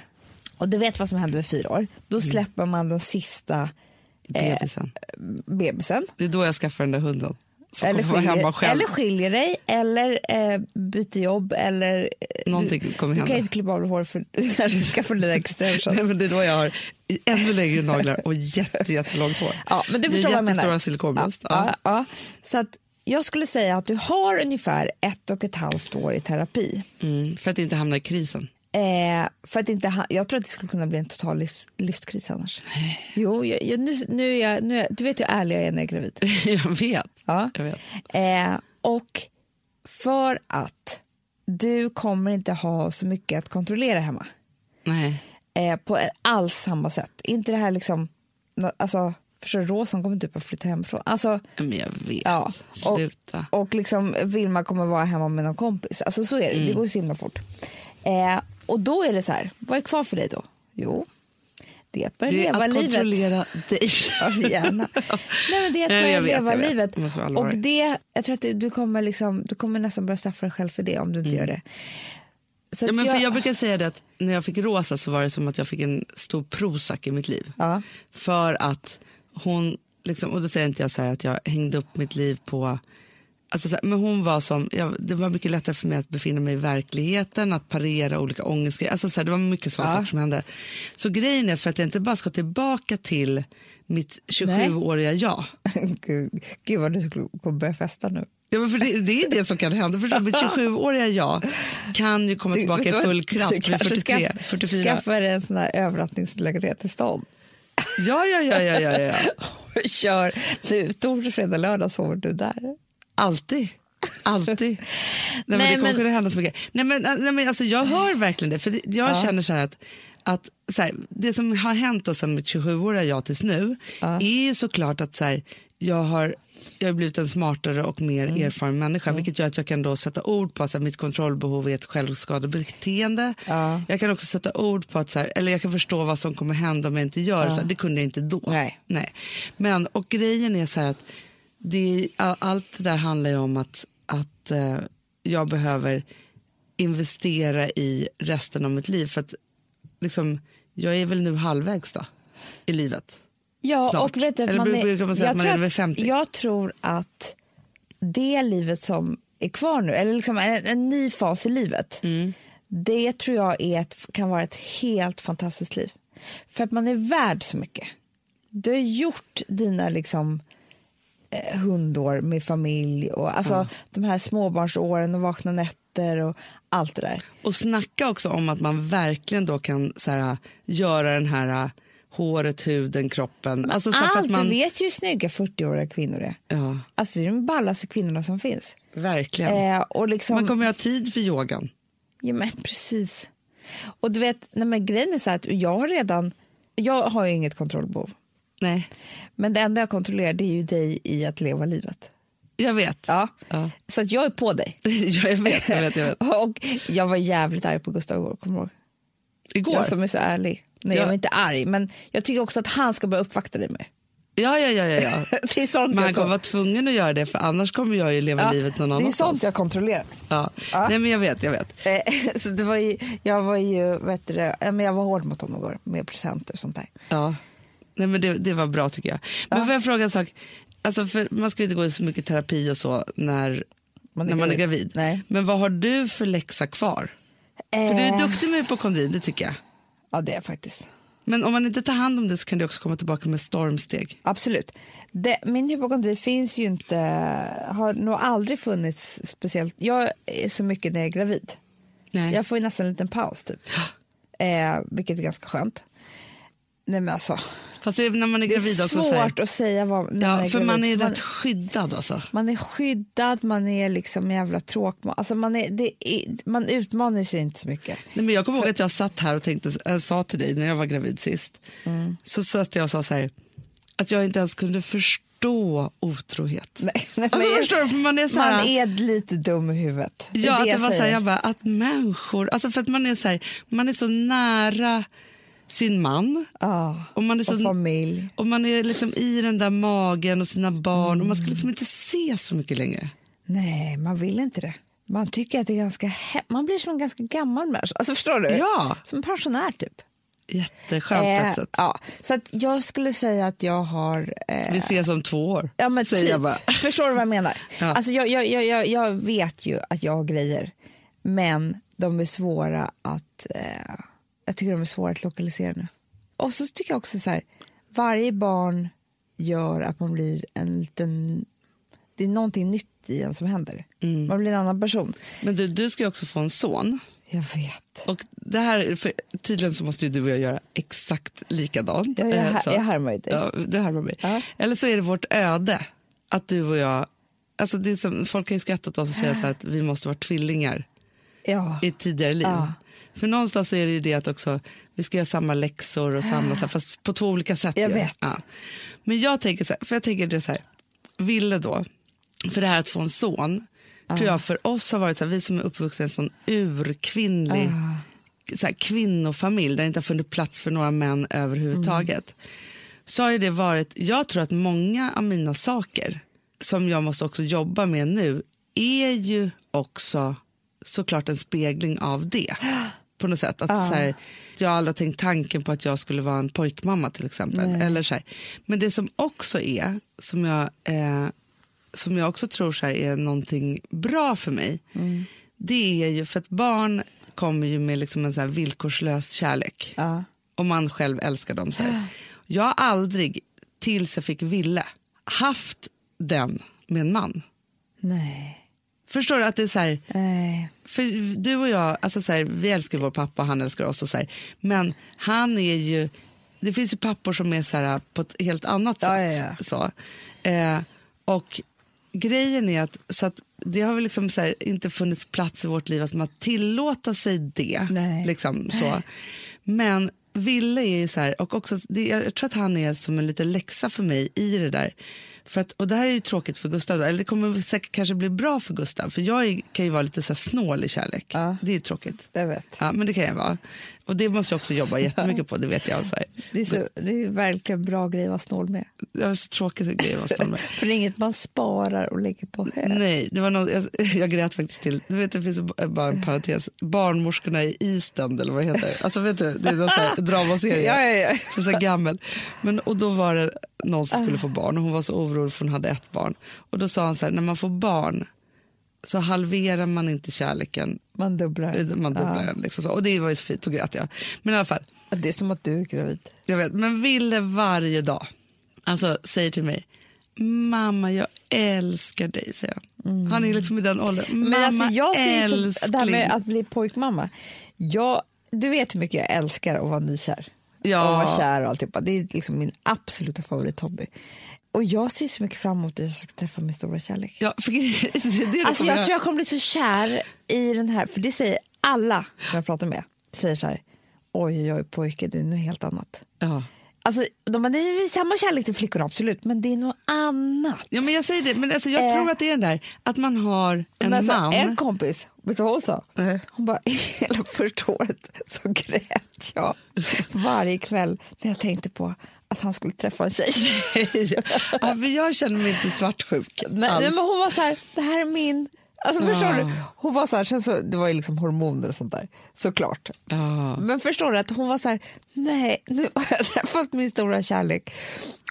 S2: Och du vet vad som händer vid fyra år, då
S1: Mm.
S2: släpper man den sista
S1: Bebisen.
S2: bebisen.
S1: Det är då jag skaffar den där hunden. Som
S2: Eh. Eller
S1: kommer vara hemma
S2: skiljer,
S1: själv.
S2: eller skiljer dig, eller eh, byter jobb, eller... eh,
S1: Någonting
S2: du,
S1: kommer
S2: Du
S1: hända.
S2: kan ju inte klippa av dig hår för (laughs) du kanske ska få lite
S1: (laughs)
S2: extension.
S1: Nej, men det är då jag har ännu längre naglar och jätte, jättelångt hår.
S2: Ja, men
S1: Det
S2: du
S1: är
S2: förstår vad jag menar.
S1: Jättestora silikonbröst.
S2: Ja, ja. ja. Så att jag skulle säga att du har ungefär ett och ett halvt år i terapi.
S1: Mm, för att inte hamna i krisen. (laughs)
S2: Eh, för att inte ha, jag tror att det skulle kunna bli en total livs, livskris annars. Jo, jag, jag, nu, nu är jag, nu är jag, du vet hur ärlig jag är när jag är gravid.
S1: jag vet.
S2: Ja.
S1: Jag vet.
S2: Eh, och för att du kommer inte ha så mycket att kontrollera hemma.
S1: Nej.
S2: Eh, på alls samma sätt. Inte det här liksom, na- alltså, förstår du, Rosan kommer typ att flytta hemifrån. Alltså,
S1: Men jag vet.
S2: Ja, och-
S1: Sluta.
S2: och liksom Vilma kommer vara hemma med någon kompis. Alltså så är det, det
S1: Mm.
S2: går ju så himla fort. Eh, och då är det så här, vad är kvar för dig då? Jo, det är att börja
S1: Det är
S2: leva
S1: att
S2: livet.
S1: kontrollera dig.
S2: (laughs) Ja, gärna. Nej, men det är att
S1: Nej,
S2: börja
S1: jag vet,
S2: leva
S1: jag vet.
S2: livet.
S1: Jag måste vara
S2: Och
S1: allvarlig.
S2: det, jag tror att det, du, kommer liksom, du kommer nästan börja straffa dig själv för det om du inte gör det. Så
S1: Mm. Ja,
S2: att
S1: men för jag brukar säga det att när jag fick Rosa så var det som att jag fick en stor Prozac i mitt liv.
S2: Ja. (laughs)
S1: För att hon, liksom, och då säger inte jag så här att jag hängde upp mitt liv på, alltså så här, men hon var som, jag, det var mycket lättare för mig att befinna mig i verkligheten, att parera olika ångestgrejer, alltså så här, det var mycket sådana saker som hände. Så grejen är för att jag inte bara ska tillbaka till mitt 27-åriga jag.
S2: Gud, gud vad du skulle- kommer börja festa nu.
S1: Ja, men för det, det är det som kan hända. För
S2: (laughs)
S1: mitt 27-åriga jag kan ju komma
S2: Du-
S1: tillbaka i
S2: vet du vad?
S1: full kraft vid
S2: kanske
S1: 43,
S2: skaff-
S1: 44.
S2: Skaffa dig en sån här övernattningslägenhet till stånd.
S1: Ja, ja, ja, ja, ja, ja.
S2: (laughs) Kör nu, torsdag, fredag, lördag sover du där.
S1: Alltid.
S2: (laughs)
S1: Alltid. Nej, men
S2: Nej,
S1: det kommer
S2: men-
S1: kunna hända så mycket. Nej, men, nej, men alltså, jag hör verkligen det. För det- jag känner så här att, att så här, det som har hänt och sen mitt 27-åriga jag tills nu är ju såklart att så här, jag har jag har blivit en smartare och mer
S2: Mm.
S1: erfaren människa vilket gör att jag kan då sätta ord på att så här, mitt kontrollbehov är ett självskadebeteende.
S2: Ja.
S1: Jag kan också sätta ord på att, så här, eller jag kan förstå vad som kommer hända om jag inte gör så här, det. kunde jag inte då.
S2: Nej.
S1: Nej. Men, och grejen är så här att det, all- allt det där handlar ju om att, att eh, jag behöver investera i resten av mitt liv. För att liksom, jag är väl nu halvvägs då, i livet.
S2: Ja,
S1: Snart.
S2: och vet du, att
S1: Eller
S2: man
S1: brukar
S2: är-
S1: man säga
S2: jag
S1: att man
S2: tror
S1: är över 50?
S2: Jag tror att det livet som är kvar nu, eller liksom en, en ny fas i livet,
S1: Mm.
S2: det tror jag är ett, kan vara ett helt fantastiskt liv. För att man är värd så mycket. Du har gjort dina liksom eh, hundår med familj och alltså de här småbarnsåren och vakna nätter och allt det där.
S1: Och snacka också om att man verkligen då kan så här, göra den här äh, håret, huden, kroppen. Alltså, så här, för
S2: allt,
S1: att man,
S2: du vet ju hur snygga 40-åriga kvinnor är.
S1: Ja,
S2: Alltså det är de ballaste kvinnorna som finns.
S1: verkligen.
S2: Eh, och liksom,
S1: man kommer ju ha tid för yogan.
S2: Ja, men precis. Och du vet, nej, men grejen är så här att jag har redan... Jag har ju inget kontrollbehov.
S1: Nej,
S2: Men det enda jag kontrollerar det är ju dig i att leva livet.
S1: jag vet.
S2: Ja. (laughs)
S1: Ja.
S2: Så att jag är på dig.
S1: Ja, jag vet, jag vet, jag vet.
S2: (laughs) Och jag var jävligt arg på Gustav igår, kommer du ihåg?
S1: (laughs) Igår?
S2: Jag som är så ärlig. Nej, jag
S1: Ja.
S2: var inte arg, men jag tycker också att han ska börja uppvakta dig mer. (laughs)
S1: Ja, ja, ja, ja, ja.
S2: Det är sånt
S1: Men han
S2: jag
S1: kommer
S2: kom-
S1: vara tvungen att göra det för annars kommer jag ju leva
S2: Ja,
S1: livet någon
S2: Det är
S1: annanstans.
S2: sånt jag kontrollerar.
S1: Ja.
S2: Ja.
S1: Nej men jag vet, jag vet.
S2: Eh, (laughs) så det var ju, jag var ju, vet du, det, ja, men jag var hård mot honom igår med presenter och sånt där.
S1: Ja. Nej men det, det var bra tycker jag. Men får jag fråga en sak? Alltså, för man ska ju inte gå i så mycket terapi och så när
S2: Man är
S1: när man är
S2: gravid.
S1: gravid.
S2: Nej.
S1: Men vad har du för läxa kvar? För du är
S2: Eh,
S1: duktig med hypokondri, det tycker jag.
S2: Ja, det är jag faktiskt.
S1: Men om man inte tar hand om det så kan det också komma tillbaka med stormsteg.
S2: Absolut. Det, min hypokondri finns ju inte, har nog aldrig funnits speciellt. Jag är så mycket när jag är gravid.
S1: Nej.
S2: Jag får ju nästan en liten paus typ. Eh, vilket är ganska skönt. Nej men alltså,
S1: Fast det är när man är
S2: det är
S1: gravid också. så här-
S2: svårt att säga vad när
S1: Ja, för man är
S2: gravid.
S1: rätt skyddad alltså.
S2: man är skyddad, man är liksom jävla tråkig. Alltså man, är, det är, man utmanar sig inte så mycket. (laughs)
S1: Nej, men jag kommer ihåg att jag satt här och tänkte, äh, sa till dig när jag var gravid sist, så satt jag och sa så här, att jag inte ens kunde förstå otrohet.
S2: Nej, nej,
S1: Alltså,
S2: men-
S1: förstår du, för man är så här,
S2: Man är lite dum i huvudet. Det är
S1: ja,
S2: det
S1: att det
S2: jag
S1: var så här,
S2: säger.
S1: jag bara, att människor, alltså för att man är så här, man är så nära sin man
S2: Ja,
S1: och man är
S2: och
S1: så
S2: familj.
S1: och man är liksom i den där magen och sina barn och man ska liksom inte se så mycket längre.
S2: Nej, man vill inte det. Man tycker att det är ganska he- man blir som en ganska gammal människa. Alltså förstår du?
S1: Ja.
S2: Som en pensionär typ. Eh,
S1: Jätteskönt på ett sätt.
S2: ja. Så att jag skulle säga att jag har... Eh,
S1: Vi ses om två år,
S2: ja, men
S1: säger
S2: typ,
S1: jag bara.
S2: Förstår du vad jag menar?
S1: (laughs) Ja.
S2: Alltså jag, jag, jag, jag, jag vet ju att jag har grejer, men de är svåra att... Eh, jag tycker de är svåra att lokalisera nu. Och så tycker jag också så här, varje barn gör att man blir en liten... Det är någonting nytt i en som händer.
S1: Mm.
S2: Man blir en annan person.
S1: Men du, du ska ju också få en son.
S2: Jag vet.
S1: Och det här, för tydligen så måste ju du och jag göra exakt likadant.
S2: Ja, jag
S1: Eh,
S2: här-
S1: så-
S2: jag härmar ju dig.
S1: Ja, du härmar mig.
S2: Ja.
S1: Eller så är det vårt öde att du och jag, alltså det är som, folk kan ju skratta åt oss och
S2: Äh.
S1: säga så här att vi måste vara tvillingar
S2: Ja.
S1: i ett tidigare liv.
S2: Ja.
S1: För någonstans så är det ju det att också, vi ska göra samma läxor och samma, så här, fast på två olika sätt.
S2: Jag
S1: ju.
S2: vet.
S1: Ja. Men jag tänker så här, för jag tänker det så här, Ville då, för det här att få en son, tror jag för oss har varit så här, vi som är uppvuxna i en sån urkvinnlig så här, kvinnofamilj där det inte har funnits plats för några män överhuvudtaget. Så har ju det varit, jag tror att många av mina saker som jag måste också jobba med nu är ju också såklart en spegling av det. (gasps) På något sätt. Att, så här, jag har aldrig tänkt tanken på att jag skulle vara en pojkmamma till exempel. Eller så här. Men det som också är, som jag eh, som jag också tror så här är någonting bra för mig, det är ju för att barn kommer ju med liksom en så här villkorslös kärlek.
S2: Ja.
S1: Och man själv älskar dem. Så här. Jag har aldrig, tills jag fick Ville, haft den med en man.
S2: Nej.
S1: Förstår du att det är så här,
S2: Nej.
S1: för du och jag, alltså så här, vi älskar vår pappa och han älskar oss och så här, men han är ju, det finns ju pappor som är så här på ett helt annat
S2: Ja,
S1: sätt.
S2: ja, ja.
S1: Så. Eh, och grejen är att, så att det har väl liksom så här, inte funnits plats i vårt liv att man tillåta sig det.
S2: Nej.
S1: Liksom, så. Men Ville är ju så här, och också, det, jag tror att han är som en liten läxa för mig i det där. För att, och det här är ju tråkigt för Gustav, eller det kommer säkert kanske bli bra för Gustav, för jag är, kan ju vara lite så här snål i kärlek.
S2: Ja.
S1: Det är ju tråkigt.
S2: Jag vet.
S1: Ja, men det kan jag vara. Och det måste jag också jobba jättemycket på, det vet jag. Så här.
S2: Det är, så, det är verkligen bra grej att vara snål med.
S1: Det var så tråkigt grej att vara snål med.
S2: (laughs) För det är inget man sparar och lägger på hög.
S1: Nej, det var någon, jag, jag grät faktiskt till, du vet det finns en- bara en parentes, barnmorskorna i Island eller vad det heter. Alltså vet du, det är någon sån här dramaserie.
S2: Ja, ja,
S1: (laughs)
S2: ja.
S1: Så här gammal. Men, och då var det någon som skulle få barn och hon var så orolig för hon hade ett barn. Och då sa han så här, när man får barn så halverar man inte kärleken,
S2: Man dubblar.
S1: utan man dubblar den. Liksom så. Och det var ju så fint, då grät jag. Men i alla fall,
S2: Ja. Det är som att du är gravid.
S1: jag vet, men Ville varje dag alltså, säger till mig Mamma, jag älskar dig, säger han. Han är liksom i den åldern. Mamma,
S2: Mm. Men alltså, jag ser
S1: älskling.
S2: ju så, det här med att bli pojkmamma. Jag, du vet hur mycket jag älskar att vara nykär.
S1: Ja.
S2: Och vara kär och alltihopa. Det är liksom min absoluta favorithobby. Och jag ser så mycket fram emot att jag ska träffa min stora kärlek.
S1: Ja, för, (laughs) det är det du
S2: Alltså
S1: kommer
S2: jag
S1: göra.
S2: tror jag kommer bli så kär i den här, för det säger alla som jag pratar med. Säger så här, oj jag är pojke, det är något helt annat.
S1: Ja.
S2: Alltså de bara, nej vi har samma kärlek till flickor absolut, men det är något annat.
S1: ja, men jag säger det. Men alltså, jag
S2: Eh.
S1: tror att det är den där att man har en
S2: Men alltså,
S1: man.
S2: En kompis, vet du vad hon sa?
S1: Nej.
S2: Hon bara, (laughs) hela första året så grät jag varje kväll när jag tänkte på att han skulle träffa
S1: (laughs)
S2: en tjej.
S1: ja, för jag känner mig inte svartsjuk
S2: Men,
S1: alls. Ah.
S2: nej, men hon var så här, det här är min... Alltså förstår du? Hon var så här, sen så, det var ju liksom hormoner och sånt där, såklart.
S1: Ja.
S2: Men förstår du att hon var så här, nej nu har jag (laughs) träffat min stora kärlek.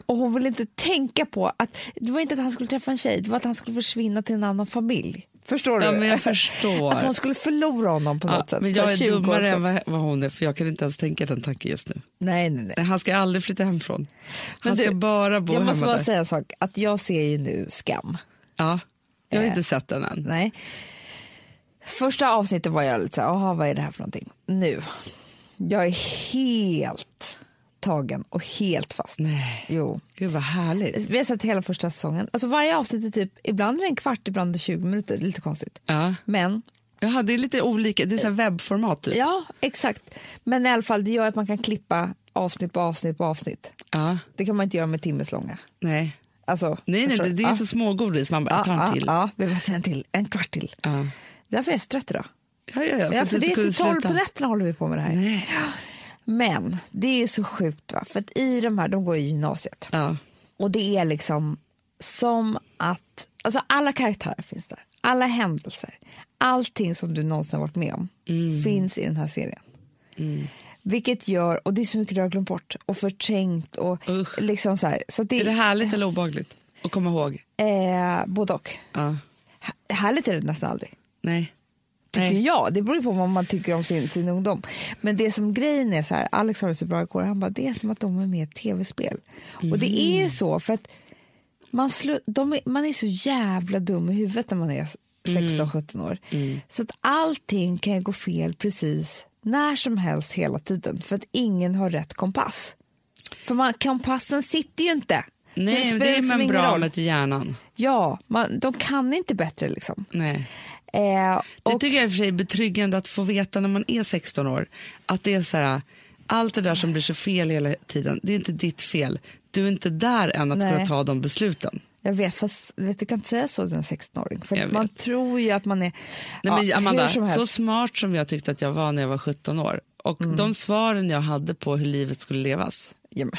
S2: Och hon ville inte tänka på att, det var inte att han skulle träffa en tjej, det var att han skulle försvinna till en annan familj. Förstår du?
S1: Ja,
S2: (laughs)
S1: men jag förstår.
S2: Att hon skulle förlora honom på
S1: Ja,
S2: något sätt.
S1: men
S2: Så
S1: jag
S2: här,
S1: är
S2: 20 år
S1: dummare
S2: för-
S1: än vad, vad hon är, för jag kan inte ens tänka den tanken just nu.
S2: Nej, nej, nej.
S1: Nej, Han ska aldrig flytta hemifrån. Han
S2: du,
S1: ska bara bo
S2: Jag
S1: hemma
S2: måste bara
S1: där.
S2: säga en sak, att jag ser ju nu skam.
S1: Ja. Jag har
S2: Eh.
S1: inte sett den än.
S2: Nej. Första avsnittet var jag lite så här, "Jaha, vad är det här för någonting? Nu, jag är helt tagen och helt fast.
S1: Nej.
S2: Jo.
S1: Gud vad härligt.
S2: Vi har sett hela första säsongen. Alltså varje avsnitt är typ, ibland är det en kvart, ibland är det 20 minuter. Lite konstigt.
S1: Ja.
S2: Men,
S1: Jaha, det är lite olika, det är så här webbformat typ.
S2: ja, exakt. Men i alla fall, det gör att man kan klippa avsnitt på avsnitt på avsnitt.
S1: Ja,
S2: Det kan man inte göra med timmeslånga.
S1: nej.
S2: Alltså,
S1: Nej, nej,
S2: förstår
S1: det,
S2: du?
S1: det är
S2: Ja.
S1: så smågodis, man bara,
S2: Ja,
S1: jag tar en till. Ja,
S2: Ja, ja, vi måste ha en till. En kvart till.
S1: Ja.
S2: Därför är jag så trött idag.
S1: ja, ja.
S2: Ja, för
S1: att
S2: det är
S1: kunde
S2: till tolv på
S1: sluta.
S2: nätterna håller vi på med det här.
S1: Nej.
S2: Men det är ju så sjukt va, för att i de här, de går i gymnasiet.
S1: Ja,
S2: Och det är liksom som att, alltså alla karaktärer finns där. Alla händelser, allting som du någonsin har varit med om
S1: Mm.
S2: finns i den här serien. Vilket gör, och det är så mycket du har glömt bort och förträngt och
S1: Usch.
S2: liksom så här. Så att det
S1: är det
S2: är
S1: härligt eller obehagligt att komma ihåg?
S2: eh, både och.
S1: Ja,
S2: Här- Härligt är det nästan aldrig.
S1: nej.
S2: Tycker
S1: nej.
S2: jag. Det beror ju på vad man tycker om sin, sin ungdom. Men det som grejen är så här, Alex har det så bra igår, han bara det är som att de är med i ett tv-spel. Och det är
S1: Mm.
S2: ju så för att man, slu, de är, man är så jävla dum i huvudet när man är
S1: Mm.
S2: 16-17 år. Så att allting kan ju gå fel precis när som helst hela tiden för att ingen har rätt kompass. För man, kompassen sitter ju inte. Så
S1: Nej, men
S2: spelar
S1: det är
S2: liksom ingen roll.
S1: membranet i hjärnan.
S2: Ja, man, de kan inte bättre liksom.
S1: Nej.
S2: Eh,
S1: Det
S2: och-
S1: tycker jag i och för sig är betryggande att få veta när man är 16 år. Att det är så här, allt det där som blir så fel hela tiden, det är inte ditt fel. Du är inte där än att
S2: Nej.
S1: kunna ta de besluten.
S2: Jag vet, fast vet, du kan inte säga så till en 16-åring. För
S1: Jag
S2: man
S1: vet.
S2: tror ju att man är...
S1: Nej, men
S2: ja, hur
S1: Amanda,
S2: som helst. Mm.
S1: så smart som jag tyckte att jag var när jag var 17 år och de svaren jag hade på hur livet skulle levas.
S2: Ja, men,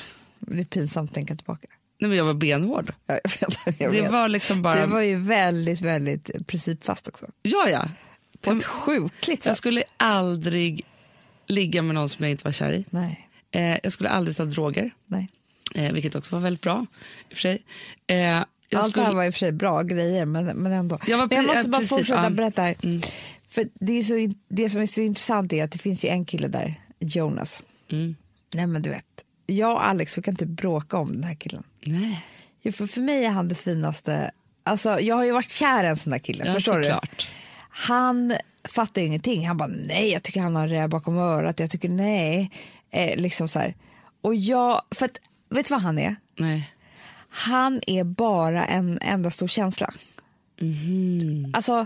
S2: det är pinsamt att tänka tillbaka.
S1: Nej, men jag var benhård.
S2: Ja, Jag vet, jag
S1: det
S2: vet.
S1: var liksom bara...
S2: det var ju väldigt, väldigt principfast också.
S1: Ja, ja.
S2: På ett sjukligt
S1: Jag
S2: sätt.
S1: skulle aldrig ligga med någon som jag inte var kär i.
S2: Nej,
S1: Eh, jag skulle aldrig ta droger,
S2: nej.
S1: eh, vilket också var väldigt bra. I och för sig. Eh, jag
S2: Allt
S1: skulle...
S2: det här var i och för sig bra grejer, men, men ändå.
S1: Jag var
S2: men jag
S1: pre-
S2: måste bara
S1: precis,
S2: fortsätta
S1: ja. Mm.
S2: berätta här. För det, är så, in- det som är så intressant är att det finns ju en kille där, Jonas.
S1: Mm.
S2: Nej, men du vet, jag och Alex vi kan inte bråka om den här killen.
S1: Nej,
S2: Jo, för, för mig är han det finaste. Alltså, jag har ju varit kär i en sån där kille.
S1: ja,
S2: förstår du?
S1: såklart.
S2: Han fattar ju ingenting. Han bara nej, jag tycker han har en räv bakom örat. Jag tycker nej. Eh, liksom så här. Och jag, för att, vet du vad han är?
S1: Nej.
S2: Han är bara en enda stor känsla.
S1: Mhm.
S2: Alltså,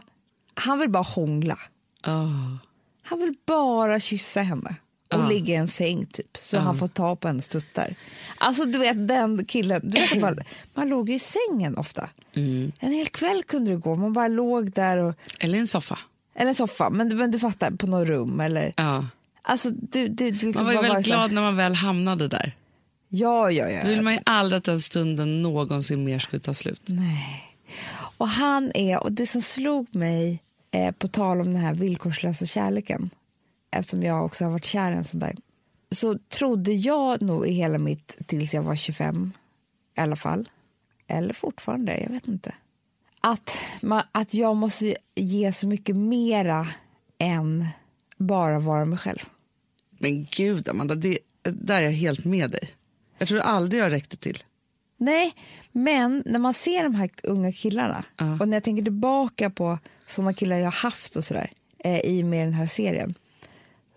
S2: han vill bara hångla.
S1: Åh.
S2: Han vill bara kyssa henne och ligga i en säng typ. Så han får ta på hennes tuttar. Alltså du vet den killen, du vet, man, (clears throat) man låg ju i sängen ofta.
S1: Mm.
S2: En hel kväll kunde det gå, man bara låg där och,
S1: Eller en soffa.
S2: eller en soffa, men, du- men du fattar, på något rum eller.
S1: Ja.
S2: Alltså du, du, du liksom
S1: Man var ju
S2: bara
S1: väldigt
S2: så här,
S1: glad när man väl hamnade där.
S2: Ja, ja, ja.
S1: Då vill man ju aldrig att den stunden någonsin mer skulle ta slut.
S2: Nej. Och han är, och det som slog mig eh, på tal om den här villkorslösa kärleken, eftersom jag också har varit kär i en sån där, så trodde jag nog i hela mitt, tills jag var 25 i alla fall, eller fortfarande, jag vet inte, att, man, att jag måste ge så mycket mera än bara vara mig själv.
S1: Men gud, Amanda, det, där är jag helt med dig. Jag tror aldrig jag räckte till.
S2: Nej, men när man ser de här unga killarna
S1: Ja.
S2: och när jag tänker tillbaka på såna killar jag har haft och sådär eh, i och med den här serien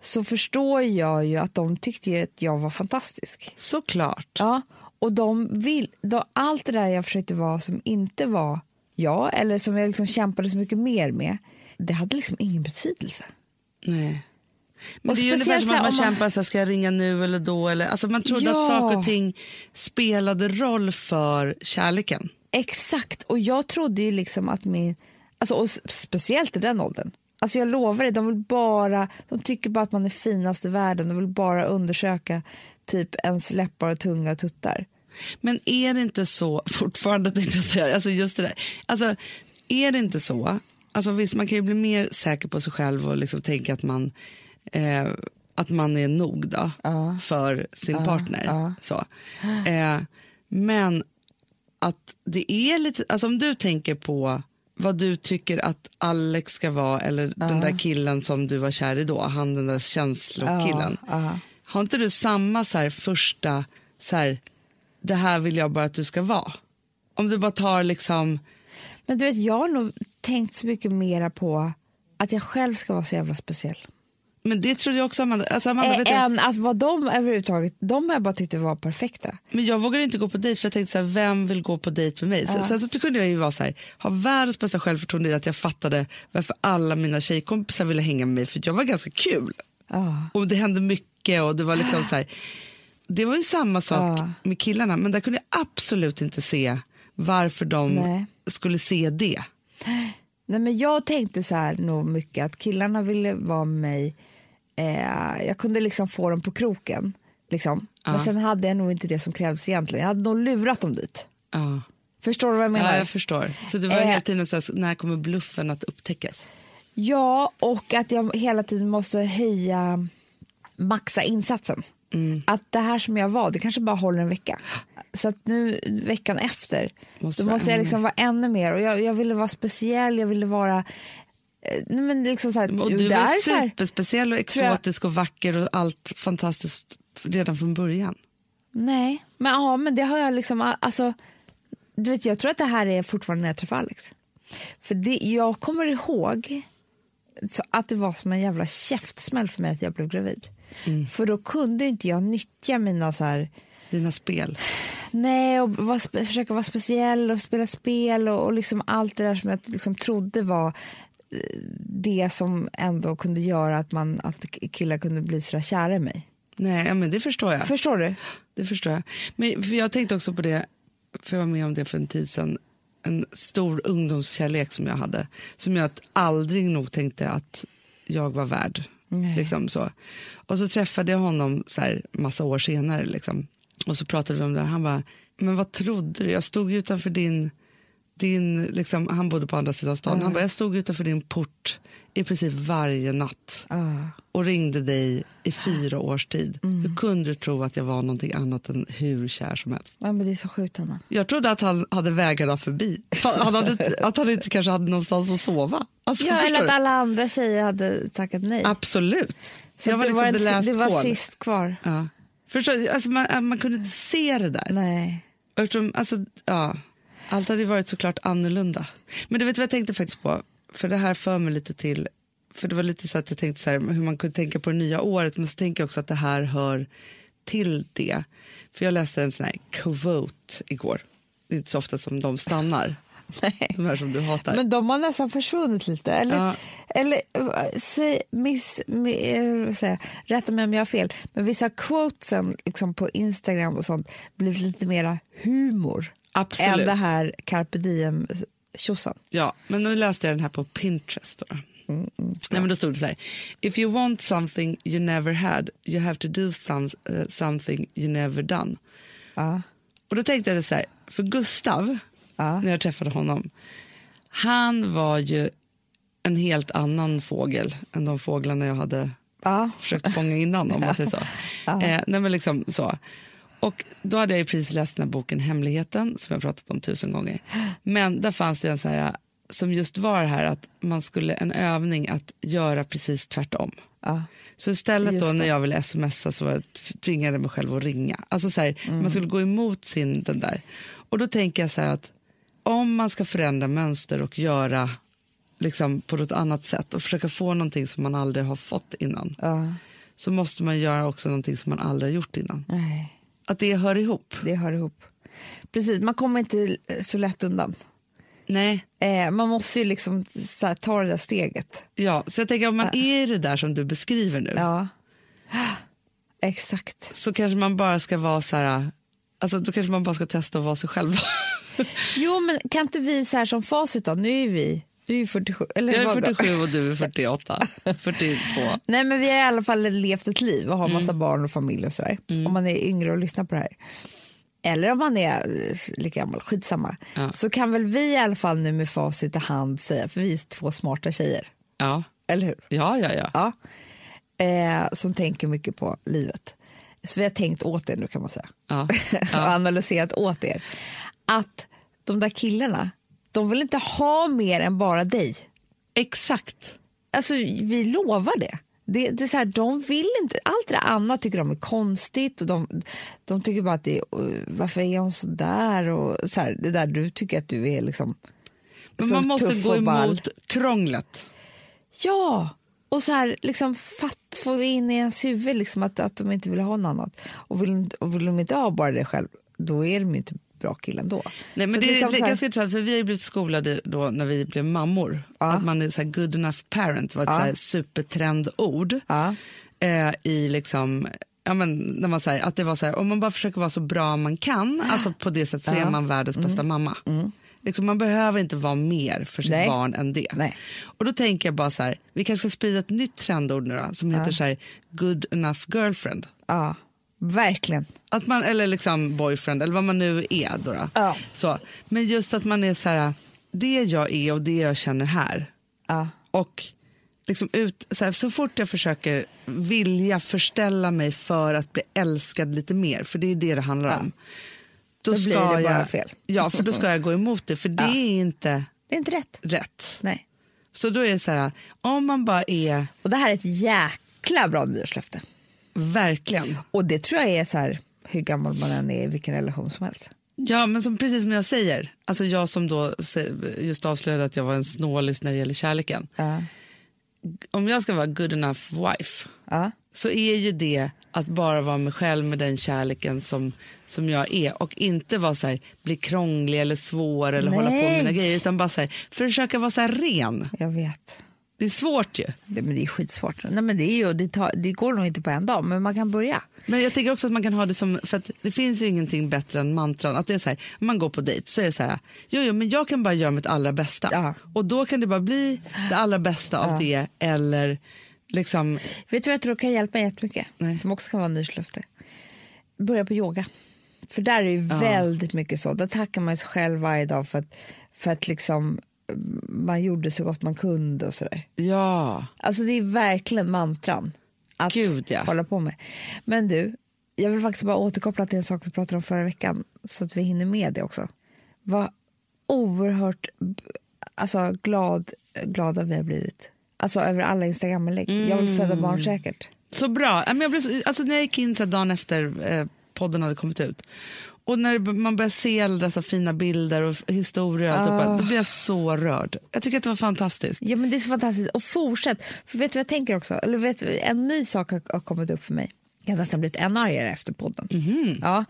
S2: så förstår jag ju att de tyckte ju att jag var fantastisk.
S1: Såklart.
S2: Ja, och de vill, då, allt det där jag försökte vara som inte var jag eller som jag liksom kämpade så mycket mer med, det hade liksom ingen betydelse.
S1: Nej. Men
S2: Och
S1: det är ju ungefär
S2: speciellt
S1: som
S2: så
S1: att man,
S2: här, om man-
S1: kämpar, så här, ska jag ringa nu eller då? Eller, alltså man trodde
S2: Ja.
S1: att saker och ting spelade roll för kärleken.
S2: Exakt, och jag trodde ju liksom att min, alltså, och s- speciellt i den åldern, alltså jag lovar dig, de vill bara, de tycker bara att man är finast i världen, de vill bara undersöka typ ens läppar och tunga och tuttar.
S1: Men är det inte så, fortfarande tänkte jag säga, alltså just det där. Alltså, är det inte så, alltså visst man kan ju bli mer säker på sig själv och liksom tänka att man, eh, att man är nog då, för sin partner. Så. Eh, men att det är lite, alltså om du tänker på vad du tycker att Alex ska vara eller den där killen som du var kär i då, han den där känslokillen. Har inte du samma så här första, så här, det här vill jag bara att du ska vara? Om du bara tar liksom,
S2: Men du vet, jag har nog tänkt så mycket mera på att jag själv ska vara så jävla speciell.
S1: men det trodde jag också Amanda, alltså Amanda vet
S2: Äh,
S1: du,
S2: än att vad de överhuvudtaget, de har jag bara tyckt var perfekta.
S1: men jag vågade inte gå på dejt för jag tänkte så här, vem vill gå på dejt med mig? Så- Sen så kunde jag ju vara så här, ha världens bästa självförtroende i att jag fattade varför alla mina tjejkompisar ville hänga med mig för jag var ganska kul.
S2: Ja.
S1: Och det hände mycket och det var liksom så här. Det var ju samma sak
S2: Ja.
S1: med killarna men där kunde jag absolut inte se varför de
S2: Nej.
S1: skulle se det.
S2: Nej, men jag tänkte så här nog mycket att killarna ville vara med mig. Eh, jag kunde liksom få dem på kroken. Liksom. Men sen hade jag nog inte det som krävs egentligen. Jag hade nog lurat dem dit.
S1: Ja.
S2: Förstår du vad jag menar?
S1: Ja,
S2: Ja,
S1: jag förstår. Så det var
S2: Eh.
S1: hela tiden så här, när kommer bluffen att upptäckas?
S2: och att jag hela tiden måste höja, maxa insatsen.
S1: Mm.
S2: Att det här som jag var, det kanske bara håller en vecka. Så att nu veckan efter,
S1: Måste
S2: då
S1: vara
S2: måste jag
S1: ännu
S2: liksom vara ännu mer. Och jag, jag ville vara speciell, jag ville vara... eh, Nej, men liksom så här,
S1: Och du
S2: det
S1: var
S2: är så här-
S1: superspeciell och
S2: tror jag-
S1: exotisk och vacker och allt fantastiskt redan från början.
S2: Nej, men, ja, men det har jag liksom... Alltså, du vet, jag tror att det här är fortfarande när jag träffar Alex. För det, jag kommer ihåg så att det var som en jävla käftsmäll för mig att jag blev gravid. För då kunde inte jag nyttja mina så här...
S1: Dina spel.
S2: Nej, och vara spe, försöka vara speciell och spela spel och, och liksom allt det där som jag liksom trodde var eh, det som ändå kunde göra att, man, att killar kunde bli så där kära i mig.
S1: Nej, ja, men det förstår jag.
S2: Förstår du?
S1: Det förstår jag. Men, för jag tänkte också på det, för jag var med om det för en tid sedan, en stor ungdomskärlek som jag hade som jag att aldrig nog tänkte att jag var värd.
S2: Nej.
S1: Liksom så. Och så träffade jag honom så här massa år senare liksom. och så pratade vi om det här. Han bara, men vad trodde du? Jag stod ju utanför din, din liksom, han bodde på andra sidan stan. Han bara, jag stod utanför din port i princip varje natt
S2: Ah.
S1: och ringde dig i fyra års tid.
S2: Mm.
S1: Hur kunde du tro att jag var någonting annat än hur kär som helst?
S2: Ja, men det är så sjukt Anna.
S1: Jag trodde att han hade vägarna förbi. Fan, Han hade,
S2: (laughs)
S1: inte- att han inte kanske hade någonstans att sova. Alltså, (laughs)
S2: Ja,
S1: förstår
S2: eller att
S1: du?
S2: alla andra tjejer hade tackat nej.
S1: Absolut.
S2: Så
S1: jag var
S2: det
S1: liksom
S2: var,
S1: the
S2: en,
S1: last
S2: det var
S1: call.
S2: sist kvar.
S1: Ja. Förstår, du? alltså, man, man kunde inte se det där.
S2: Nej.
S1: Eftersom, alltså, ja. Allt hade ju varit såklart annorlunda. Men du vet vad jag tänkte faktiskt på? För det här för mig lite till, för det var lite så att jag tänkte så här, hur man kunde tänka på det nya året, men så tänker jag också att det här hör till det. För jag läste en sån här quote igår. Det är inte så ofta som de stannar,
S2: nej.
S1: de här som du hatar.
S2: Men de har nästan försvunnit lite. Eller,
S1: Ja.
S2: eller eh, säg, miss, mi, eh, vad säger jag? rätta mig om jag har fel, men vissa quotesen liksom på Instagram och sånt blivit lite mera humor
S1: Absolut.
S2: än det här carpe eh, diem-tjosan.
S1: Ja, men nu läste jag den här på Pinterest. Då. Nej, men då stod det så här. If you want something you never had, you have to do some, eh, something you never done.
S2: Ja.
S1: Och då tänkte jag så här, för Gustav,
S2: Ja.
S1: när jag träffade honom, han var ju en helt annan fågel än de fåglarna jag hade
S2: Ja.
S1: försökt fånga innan om man säger så. Eh, nej, men liksom så. Och då hade jag ju precis läst den här boken Hemligheten som jag pratat om tusen gånger. Men där fanns det en så här som just var det här att man skulle en övning att göra precis tvärtom.
S2: Ja.
S1: Så istället
S2: Just
S1: då
S2: det.
S1: när jag ville smsa så var jag tvingade jag mig själv att ringa. Alltså så här,
S2: Mm.
S1: man skulle gå emot sin den där. Och då tänker jag så här att om man ska förändra mönster och göra liksom på något annat sätt och försöka få någonting som man aldrig har fått innan
S2: ja.
S1: så måste man göra också någonting som man aldrig har gjort innan.
S2: Nej.
S1: Att det hör ihop.
S2: Det hör ihop. Precis, man kommer inte eh, så lätt undan.
S1: Nej.
S2: Eh, man måste ju liksom så här, ta det där steget.
S1: Ja, så jag tänker om man är i det där som du beskriver nu
S2: Ja. (gasps) Exakt.
S1: så kanske man bara ska vara så här, alltså då kanske man bara ska testa att vara sig själv.
S2: Jo, men kan inte vi så här som facit då? Nu är vi, du är ju 47. Eller
S1: Jag är
S2: vad då?
S1: 47 och du är (laughs) 48, 42.
S2: Nej, men vi har i alla fall levt ett liv och har
S1: Mm.
S2: massa barn och familj och sådär. Om man är yngre och lyssnar på det här. Eller om man är eh, lika gammal, skitsamma.
S1: Ja.
S2: Så kan väl vi i alla fall nu med facit i hand säga, för vi är två smarta tjejer,
S1: Ja,
S2: eller hur?
S1: ja, ja. ja.
S2: Ja. Eh, som tänker mycket på livet. Så vi har tänkt åt er nu kan man säga.
S1: Ja.
S2: och analyserat åt er. Att de där killarna, de vill inte ha mer än bara dig.
S1: Exakt.
S2: Alltså vi lovar det. Det, det är så här, de vill inte, allt det där andra tycker de är konstigt och de, de tycker bara att det är, "Åh, varför är hon så där och så här, det där du tycker att du är liksom
S1: Men
S2: så
S1: man måste
S2: tuff
S1: gå
S2: och ball.
S1: emot krånglet.
S2: Ja, och så här liksom fatt, få in i ens huvud liksom att, att de inte vill ha något annat. Och vill, inte- och vill de inte ha bara det själv, då är de ju inte bra killen ändå.
S1: Nej,
S2: Så
S1: men det,
S2: liksom
S1: är
S2: så här-
S1: ganska intressant, för vi har ju blivit skolade då när vi blev mammor. Att man är så här good enough parent var ett så här supertrendord.
S2: Ja.
S1: Eh, I liksom, ja men när man säger att det var så här, om man bara försöker vara så bra man kan, alltså på det sättet så är man världens bästa mamma. Liksom, man behöver inte vara mer för sitt
S2: Mm. Nej.
S1: barn än det.
S2: Nej.
S1: Och då tänker jag bara så här, vi kanske ska sprida ett nytt trendord nu då, som heter så här good enough girlfriend.
S2: ja, verkligen.
S1: Att man, eller liksom boyfriend, eller vad man nu är. Då då.
S2: Ja.
S1: Så. Men just att man är så här, det jag är och det jag känner här.
S2: Ja.
S1: Och liksom ut, så, här, så fort jag försöker vilja förställa mig för att bli älskad lite mer, för det är det det handlar om. Då,
S2: Då blir det bara
S1: jag,
S2: fel.
S1: Ja, för då ska jag gå emot
S2: (laughs)
S1: det, för det är inte
S2: Det är inte rätt.
S1: rätt.
S2: Nej.
S1: Så då är det så här, om man bara är
S2: Och det här är ett jäkla bra nyårslöfte.
S1: verkligen
S2: Och det tror jag är så här, hur gammal man än är i vilken relation som helst.
S1: Ja, men som, precis som jag säger, alltså jag som då se- just avslöjade att jag var en snålis när det gäller kärleken.
S2: Ja.
S1: Om jag ska vara good enough wife
S2: Ja.
S1: så är ju det att bara vara mig själv med den kärleken som, som jag är och inte vara så här, bli krånglig eller svår eller hålla på med mina
S2: Nej.
S1: grejer utan bara så här, försöka vara så här ren.
S2: Jag vet.
S1: Det är svårt ju.
S2: Det, men det är skitsvårt. Nej, men det, är ju, det, tar, det går nog inte på en dag, men man kan börja.
S1: Men jag tänker också att man kan ha det som, för att det finns ju ingenting bättre än mantran. Att det är så här, om man går på dejt så är det så här, jo, jo men jag kan bara göra mitt allra bästa.
S2: Ja.
S1: Och då kan det bara bli det allra bästa av det eller liksom,
S2: Vet du vad jag tror kan hjälpa jättemycket?
S1: Nej.
S2: Som också kan vara nyslöfte. Börja på yoga. För där är det väldigt mycket så. Där tackar man sig själv varje dag för att, för att liksom, mm, man gjorde så gott man kunde och sådär.
S1: ja,
S2: Alltså det är verkligen mantran att
S1: Gud, ja.
S2: hålla på med. Men du, jag vill faktiskt bara återkoppla till en sak vi pratade om förra veckan så att vi hinner med det också. Vad oerhört b- alltså, glad, glada vi har blivit. Alltså över alla Instagram-inlägg. Jag vill föda
S1: Mm.
S2: barn säkert.
S1: så bra. Ja, men Jag blev så, alltså när jag gick in så här dagen efter eh, podden hade kommit ut och när b- man börjar se alla dessa fina bilder och f- historier och alltihopa, då blir jag så rörd. Jag tycker att det var fantastiskt.
S2: Ja men det är så fantastiskt. Och fortsätt. För vet du vad jag tänker också? Eller vet du, en ny sak har, har kommit upp för mig. Jag har nästan blivit än argare efter podden. Ja.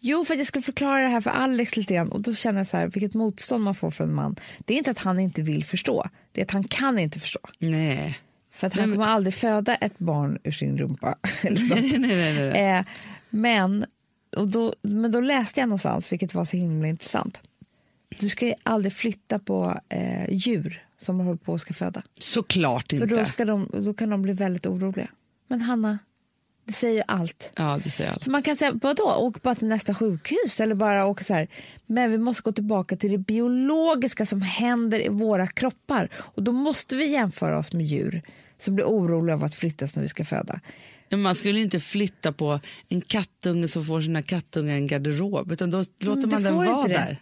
S2: Jo, för att jag skulle förklara det här för Alex lite grann och då känner jag så här, vilket motstånd man får från en man. Det är inte att han inte vill förstå, det är att han kan inte förstå.
S1: Nej.
S2: För att han kommer aldrig föda ett barn ur sin rumpa. (laughs) Eller
S1: (laughs)
S2: något.
S1: nej, nej, nej, nej.
S2: Eh, men, och då, men då läste jag någonstans, vilket var så himla intressant. Du ska ju aldrig flytta på eh, djur som håller på att ska föda.
S1: Såklart
S2: För
S1: inte.
S2: då, ska de, då kan de bli väldigt oroliga. Men Hanna, det säger ju allt.
S1: Ja, det säger jag. alltså.
S2: För man kan säga, vadå, åk bara till nästa sjukhus eller bara åka så här. Men vi måste gå tillbaka till det biologiska som händer i våra kroppar. Och då måste vi jämföra oss med djur som blir oroliga av att flyttas när vi ska föda.
S1: Men Man skulle inte flytta på en kattunge som får sina kattungar i en garderob, utan då låter
S2: Men du
S1: man den
S2: får inte
S1: vara
S2: Mm, det.
S1: där.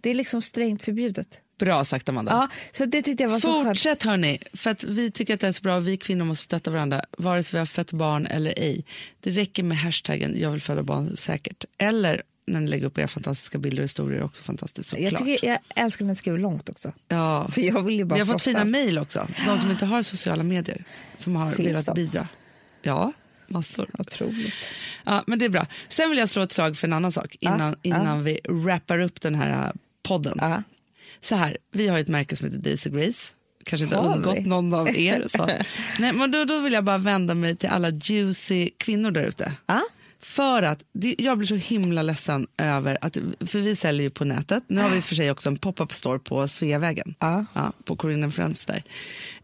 S2: Det är liksom strängt förbjudet.
S1: Bra sagt Amanda.
S2: Ja, så det tyckte jag var så skönt.
S1: Fortsätt hörni, för att vi tycker att det är så bra och vi kvinnor måste stötta varandra, vare sig vi har fött barn eller ej. Det räcker med hashtaggen jag vill föda barn säkert, eller när ni lägger upp era fantastiska bilder och historier också fantastiskt såklart.
S2: Jag, tycker, jag älskar när jag skriver långt också.
S1: ja.
S2: För jag vill ju bara
S1: Vi har fått
S2: frossa.
S1: fina mejl också, de som inte har sociala medier, som har
S2: Finns
S1: velat
S2: de?
S1: bidra. Ja, massor.
S2: Otroligt.
S1: Ja, men det är bra. Sen vill jag slå ett slag för en annan sak innan, innan vi wrappar upp den här äh, podden.
S2: Ja.
S1: Så här, vi har ju ett märke som heter Daisy Grace. Kanske inte
S2: Har
S1: har
S2: vi?
S1: undgått någon av er.
S2: (laughs)
S1: Så. Nej, men då, då vill jag bara vända mig till alla juicy kvinnor där ute.
S2: Ja.
S1: För att det, jag blir så himla ledsen över att, för vi säljer ju på nätet. Nu har vi i och för sig också en pop-up store på Sveavägen.
S2: Ja.
S1: på Corinne and Friends där.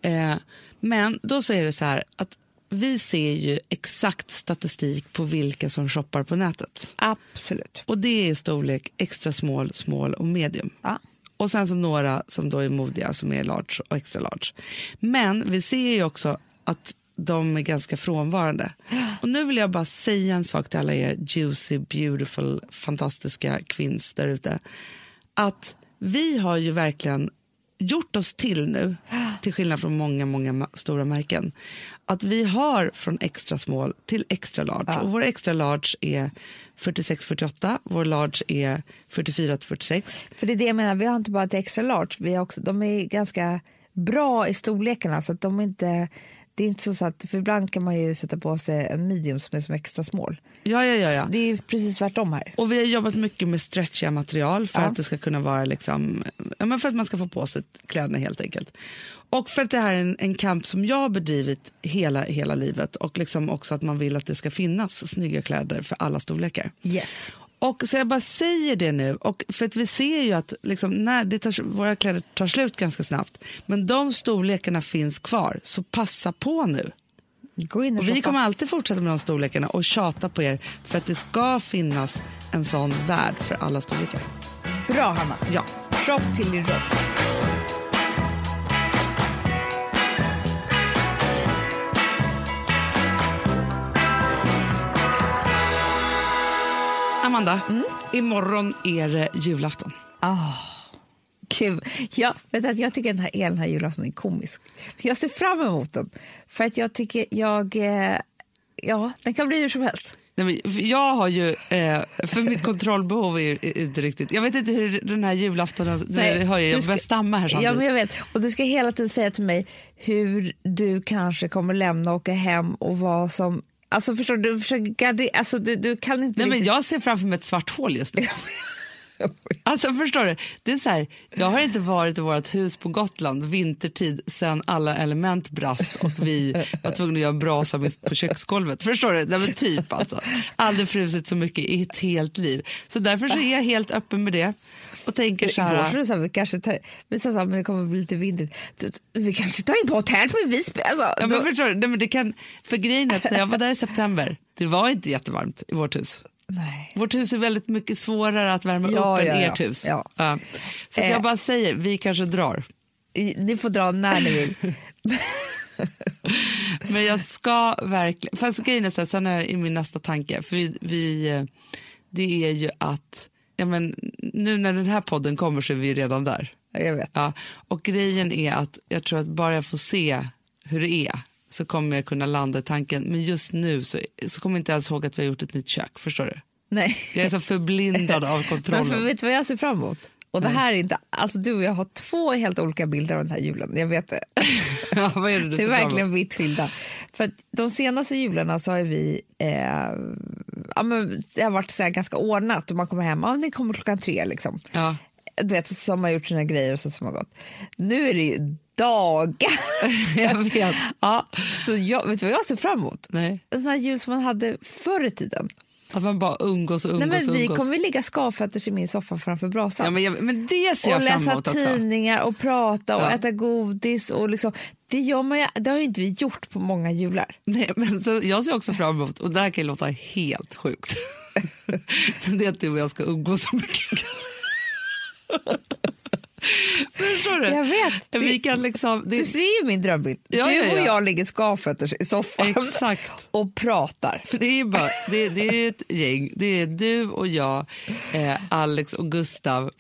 S1: Eh, men då så är det så här att vi ser ju exakt statistik på vilka som shoppar på nätet.
S2: Absolut.
S1: Och det är storlek extra small, small och medium.
S2: Ja.
S1: Och sen så några som då är modiga som är large och extra large. Men vi ser ju också att de är ganska frånvarande. Och nu vill jag bara säga en sak till alla er juicy, beautiful, fantastiska kvinns där ute. Att vi har ju verkligen gjort oss till nu, till skillnad från många, många ma- stora märken. Att vi har från extra small till extra large. Och vår extra large är 46-48, vår large är 44-46.
S2: För det är det jag menar, vi har inte bara ett extra large, vi har också, de är ganska bra i storlekarna så att de inte, det är inte så, så att, för ibland kan man ju sätta på sig en medium som är som extra small.
S1: Ja, ja, ja, ja.
S2: Det är ju precis tvärtom här.
S1: Och vi har jobbat mycket med stretchiga material för
S2: Ja.
S1: att det ska kunna vara liksom, ja, men för att man ska få på sig kläderna helt enkelt. Och för att det här är en, en kamp som jag har bedrivit hela, hela livet och liksom också att man vill att det ska finnas snygga kläder för alla storlekar.
S2: Yes.
S1: Och så jag bara säger det nu, och för att vi ser ju att liksom, när det tar, våra kläder tar slut ganska snabbt, men de storlekarna finns kvar, så passa på nu.
S2: Gå in och,
S1: Och vi
S2: shoppa.
S1: kommer alltid fortsätta med de storlekarna och tjata på er för att det ska finnas en sån värld för alla storlekar.
S2: Bra Hanna!
S1: Ja.
S2: Shop till din rock.
S1: Amanda, imorgon är det julafton.
S2: Gud, jag, vet att jag tycker den här, hela den här julafton är komisk. Jag ser fram emot den. För att jag tycker, jag, eh, ja, den kan bli hur som helst.
S1: Nej, men för jag har ju, eh, för mitt kontrollbehov är ju är inte riktigt... Jag vet inte hur den här julaftonen... Nej, hör jag,
S2: du
S1: jag börjar
S2: ska-
S1: stamma här
S2: ja,
S1: samtidigt.
S2: men jag vet. Och du ska hela tiden säga till mig hur du kanske kommer lämna och åka hem och vad som... Alltså förstår du, du försöker garde- alltså, du, du kan inte
S1: Nej, men
S2: riktigt...
S1: jag ser framför mig ett svart hål just nu. Alltså förstår du, det är så här, jag har inte varit i vårt hus på Gotland vintertid sen alla element brast och vi var tvungna att göra en brasa med- på köksgolvet. Förstår du? Nej, men typ alltså. Aldrig frusit så mycket i ett helt liv. Så därför så är jag helt öppen med det och tänker så
S2: Igår så
S1: här.
S2: du sa vi kanske tar, vi sa så här, men det kommer bli lite vindigt. Du, du, vi kanske tar in på hotell på Visby. Alltså,
S1: Ja,
S2: då,
S1: men förstår du? Nej, men det kan, för grejen är att när jag var där i september, det var inte jättevarmt i vårt hus.
S2: nej.
S1: Vårt hus är väldigt mycket svårare att värma
S2: Ja,
S1: upp
S2: ja,
S1: än
S2: ja.
S1: ert hus.
S2: Ja.
S1: Så att
S2: Eh.
S1: jag bara säger, vi kanske drar.
S2: I- Ni får dra när ni
S1: (laughs)
S2: vill.
S1: Men jag ska verkligen... Fast grejen är så här, sen är jag i min nästa tanke. För vi, vi, eh, det är ju att... Ja, men, nu när den här podden kommer så är vi redan där.
S2: Jag vet.
S1: Ja, och grejen är att jag tror att bara jag får se hur det är så kommer jag kunna landa i tanken. Men just nu så, så kommer jag inte ens ihåg att vi har gjort ett nytt kök. Förstår du?
S2: Nej.
S1: Jag
S2: (laughs)
S1: är så förblindad av
S2: Men för,
S1: kontrollen.
S2: vet du vad jag ser fram emot? Och det här är inte, alltså du och jag har två helt olika bilder av den här julen. Jag vet det.
S1: (laughs) ja, vad är det du
S2: Det
S1: ser
S2: är
S1: fram emot?
S2: verkligen vitt skilda. För att de senaste jularna så har ju vi, eh, ja, men det har varit så här ganska ordnat och man kommer hem, ja, ni kommer klockan tre liksom.
S1: Ja.
S2: Du vet, som har gjort sina grejer och så som har gått. Nu är det ju dagar. (laughs)
S1: Jag vet.
S2: Ja, så jag, vet du vad jag ser fram emot?
S1: Nej.
S2: En sån här jul som man hade förr i tiden.
S1: Att man bara umgås och
S2: Nej,
S1: umgås
S2: men
S1: och
S2: vi
S1: umgås.
S2: kommer ligga skavfötters i min soffa framför brasan.
S1: Ja, men, jag, men det ser
S2: och
S1: jag fram
S2: läsa
S1: emot också.
S2: tidningar och prata och
S1: Ja.
S2: äta godis. Och liksom, det, gör man ju, det har ju inte vi gjort på många jular.
S1: (laughs) Nej, men så, jag ser också fram emot, och det här kan ju låta helt sjukt, (laughs) det är att du och jag ska umgås så mycket. (laughs) Förstår du?
S2: Jag vet.
S1: Vi kan liksom, det,
S2: Du ser ju min drömbild.
S1: Ja,
S2: du
S1: ja, ja.
S2: och jag ligger skavfötters i soffan
S1: Exakt.
S2: och pratar.
S1: för det är ju bara, det, det är ett gäng, det är du och jag, eh, Alex och Gustav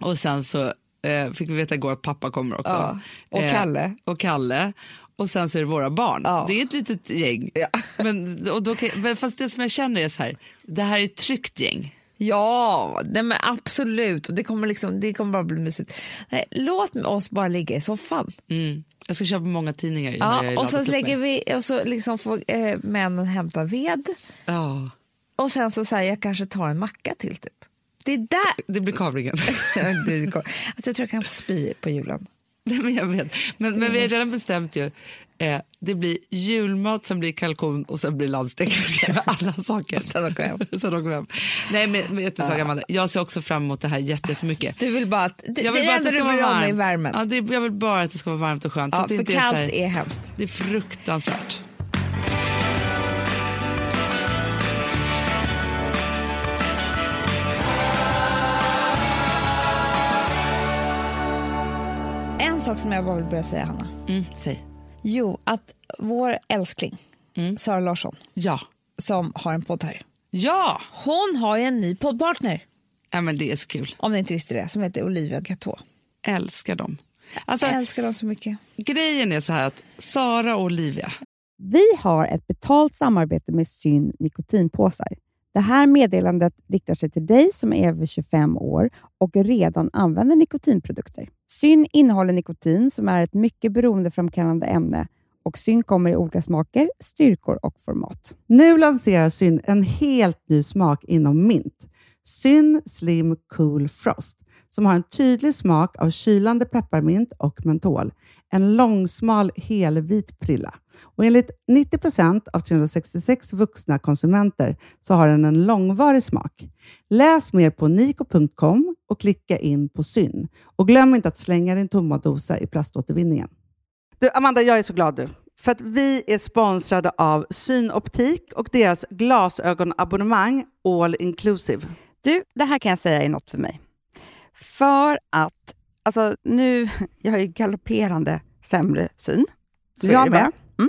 S1: och sen så eh, fick vi veta igår att pappa kommer också. Eh,
S2: Ja, och Kalle.
S1: och Kalle. Och sen så är det våra barn.
S2: Ja.
S1: Det är ett litet gäng.
S2: Ja.
S1: Men, och då kan, men fast det som jag känner är så här, det här är ett tryggt gäng.
S2: Ja, nej men absolut. Och Det kommer, liksom, det kommer bara bli mysigt. Nej, låt oss bara ligga i soffan.
S1: Mm. Jag ska köpa många tidningar. innan jag
S2: Ja,
S1: är
S2: och så
S1: laddat upp
S2: lägger
S1: med.
S2: vi och så liksom får eh, männen hämta ved.
S1: Ja,
S2: Och sen så säger jag kanske tar en macka till typ. Det är där... (laughs)
S1: det blir kavlingen.
S2: du, kom- alltså, jag tror jag kan spy på julen.
S1: (laughs) Nej, men, jag vet. Men, men vi har redan bestämt ju. Eh, det blir julmat, sen blir det kalkon och (laughs) sen blir det laddstekt. Alla saker.
S2: (laughs) Sen åker jag hem.
S1: Sen åker vi hem. Nej, men, men vet du en sak, Amanda? Jag ser också fram emot det här jätte- jättemycket.
S2: Du vill bara att... Det,
S1: Jag
S2: det
S1: vill
S2: är
S1: bara att
S2: enda
S1: det
S2: du
S1: ska vara
S2: bryr dig om
S1: varmt.
S2: är värmen.
S1: Ja, det, jag vill bara att det ska vara varmt och skönt. så
S2: Ja,
S1: att det
S2: för
S1: inte är så
S2: kallt
S1: här-
S2: är hemskt.
S1: Det är fruktansvärt.
S2: En sak som jag bara vill börja säga, Hanna.
S1: Mm. Säg.
S2: Jo, att vår älskling Sara Larsson,
S1: Ja.
S2: som har en podd här,
S1: Ja!
S2: hon har ju en ny poddpartner,
S1: ja men det är så kul.
S2: om ni inte visste det, som heter Olivia Gatå.
S1: Älskar dem. Alltså,
S2: Jag älskar dem så mycket.
S1: grejen är så här att Sara och Olivia,
S3: Vi har ett betalt samarbete med Syn nikotinpåsar. Det här meddelandet riktar sig till dig som är över 25 år och redan använder nikotinprodukter. Syn innehåller nikotin som är ett mycket beroendeframkallande ämne och Syn kommer i olika smaker, styrkor och format.
S4: Nu lanserar Syn en helt ny smak inom mint. Syn Slim Cool Frost, som har en tydlig smak av kylande pepparmint och mentol. En långsmal helvit prilla. Och enligt 90 av 366 vuxna konsumenter så har den en långvarig smak. Läs mer på niko.com och klicka in på Syn. Och glöm inte att slänga din tomma dosa i plaståtervinningen. Du, Amanda, jag är så glad du. För att vi är sponsrade av Synoptik och deras glasögonabonnemang All Inclusive.
S3: Du, det här kan jag säga är något för mig. För att, alltså nu, (laughs) jag har ju galopperande sämre syn. Så är
S4: jag
S3: det bara. Mm.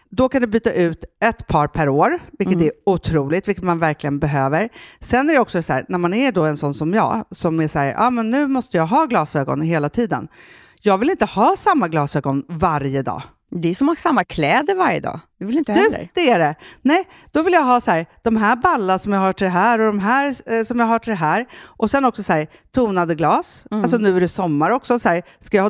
S4: då kan du byta ut ett par per år, vilket är otroligt, vilket man verkligen behöver. Sen är det också så här, när man är då en sån som jag, som är så här, ja ah, men nu måste jag ha glasögon hela tiden. Jag vill inte ha samma glasögon varje dag.
S3: Det är som att ha samma kläder varje dag. Det vill inte jag
S4: Du,
S3: heller.
S4: det är det. Nej, då vill jag ha så här, de här balla som jag har till det här och de här eh, som jag har till det här. Och sen också så här, tonade glas.
S3: Mm.
S4: Alltså nu är det sommar också. Så här, ska jag ha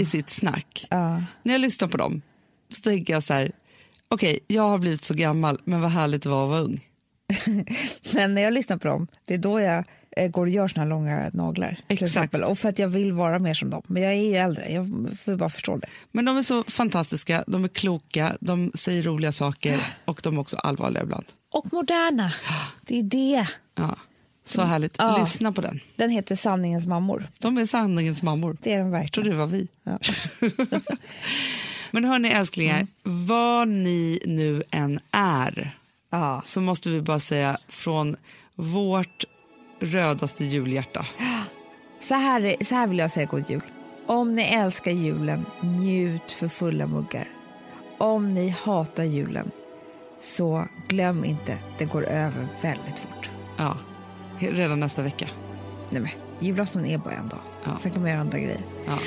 S1: i sitt snack.
S2: Ja.
S1: När jag lyssnar på dem så tänker jag så här, okej, jag har blivit så gammal, men vad härligt det var att vara ung.
S2: Men när jag lyssnar på dem, det är då jag eh, går och gör såna långa naglar. till
S1: Exakt.
S2: exempel. Och för att jag vill vara mer som dem. Men jag är ju äldre, jag får bara förstå det.
S1: Men de är så fantastiska, de är kloka, de säger roliga saker och de är också allvarliga ibland.
S2: Och moderna, det är det.
S1: Ja, så härligt.
S2: Ja.
S1: Lyssna på den.
S2: Den heter Sanningens mammor.
S1: De är sanningens mammor.
S2: Det är den
S1: tror
S2: verkligen.
S1: du var vi. (laughs) Men hörni älsklingar,
S2: Mm.
S1: var ni nu än är
S2: Ja.
S1: så måste vi bara säga från vårt rödaste julhjärta.
S2: Så här, så här vill jag säga god jul. Om ni älskar julen, njut för fulla muggar. Om ni hatar julen, så glöm inte, den går över väldigt fort.
S1: Ja, redan nästa vecka.
S2: Nej men, julafton är bara en dag.
S1: Ja.
S2: Sen kan man göra andra grejer.
S1: Ja.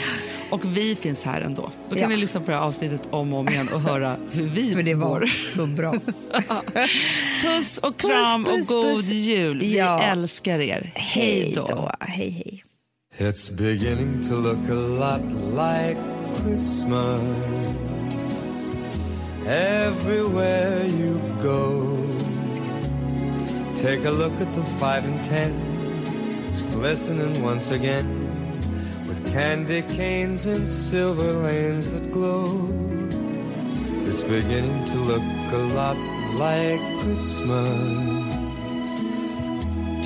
S1: Och vi finns här ändå. Då kan
S2: Ja.
S1: ni lyssna på det här avsnittet om och om igen och höra hur vi
S2: För det
S1: mår.
S2: var så bra. (laughs)
S1: Puss och kram
S2: Puss, puss,
S1: och god
S2: puss.
S1: jul. Vi
S2: Ja.
S1: älskar er.
S2: Hej då. Hej, hej.
S5: It's beginning to look a lot like Christmas everywhere you go. Take a look at the five and ten, it's glistening once again with candy canes and silver lanes that glow. It's beginning to look a lot like Christmas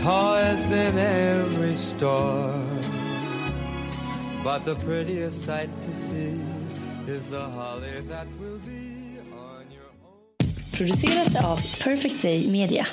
S5: toys in every store. But the prettiest sight to see is the holly that will be on your own.
S6: Producerat av Perfect Day Media.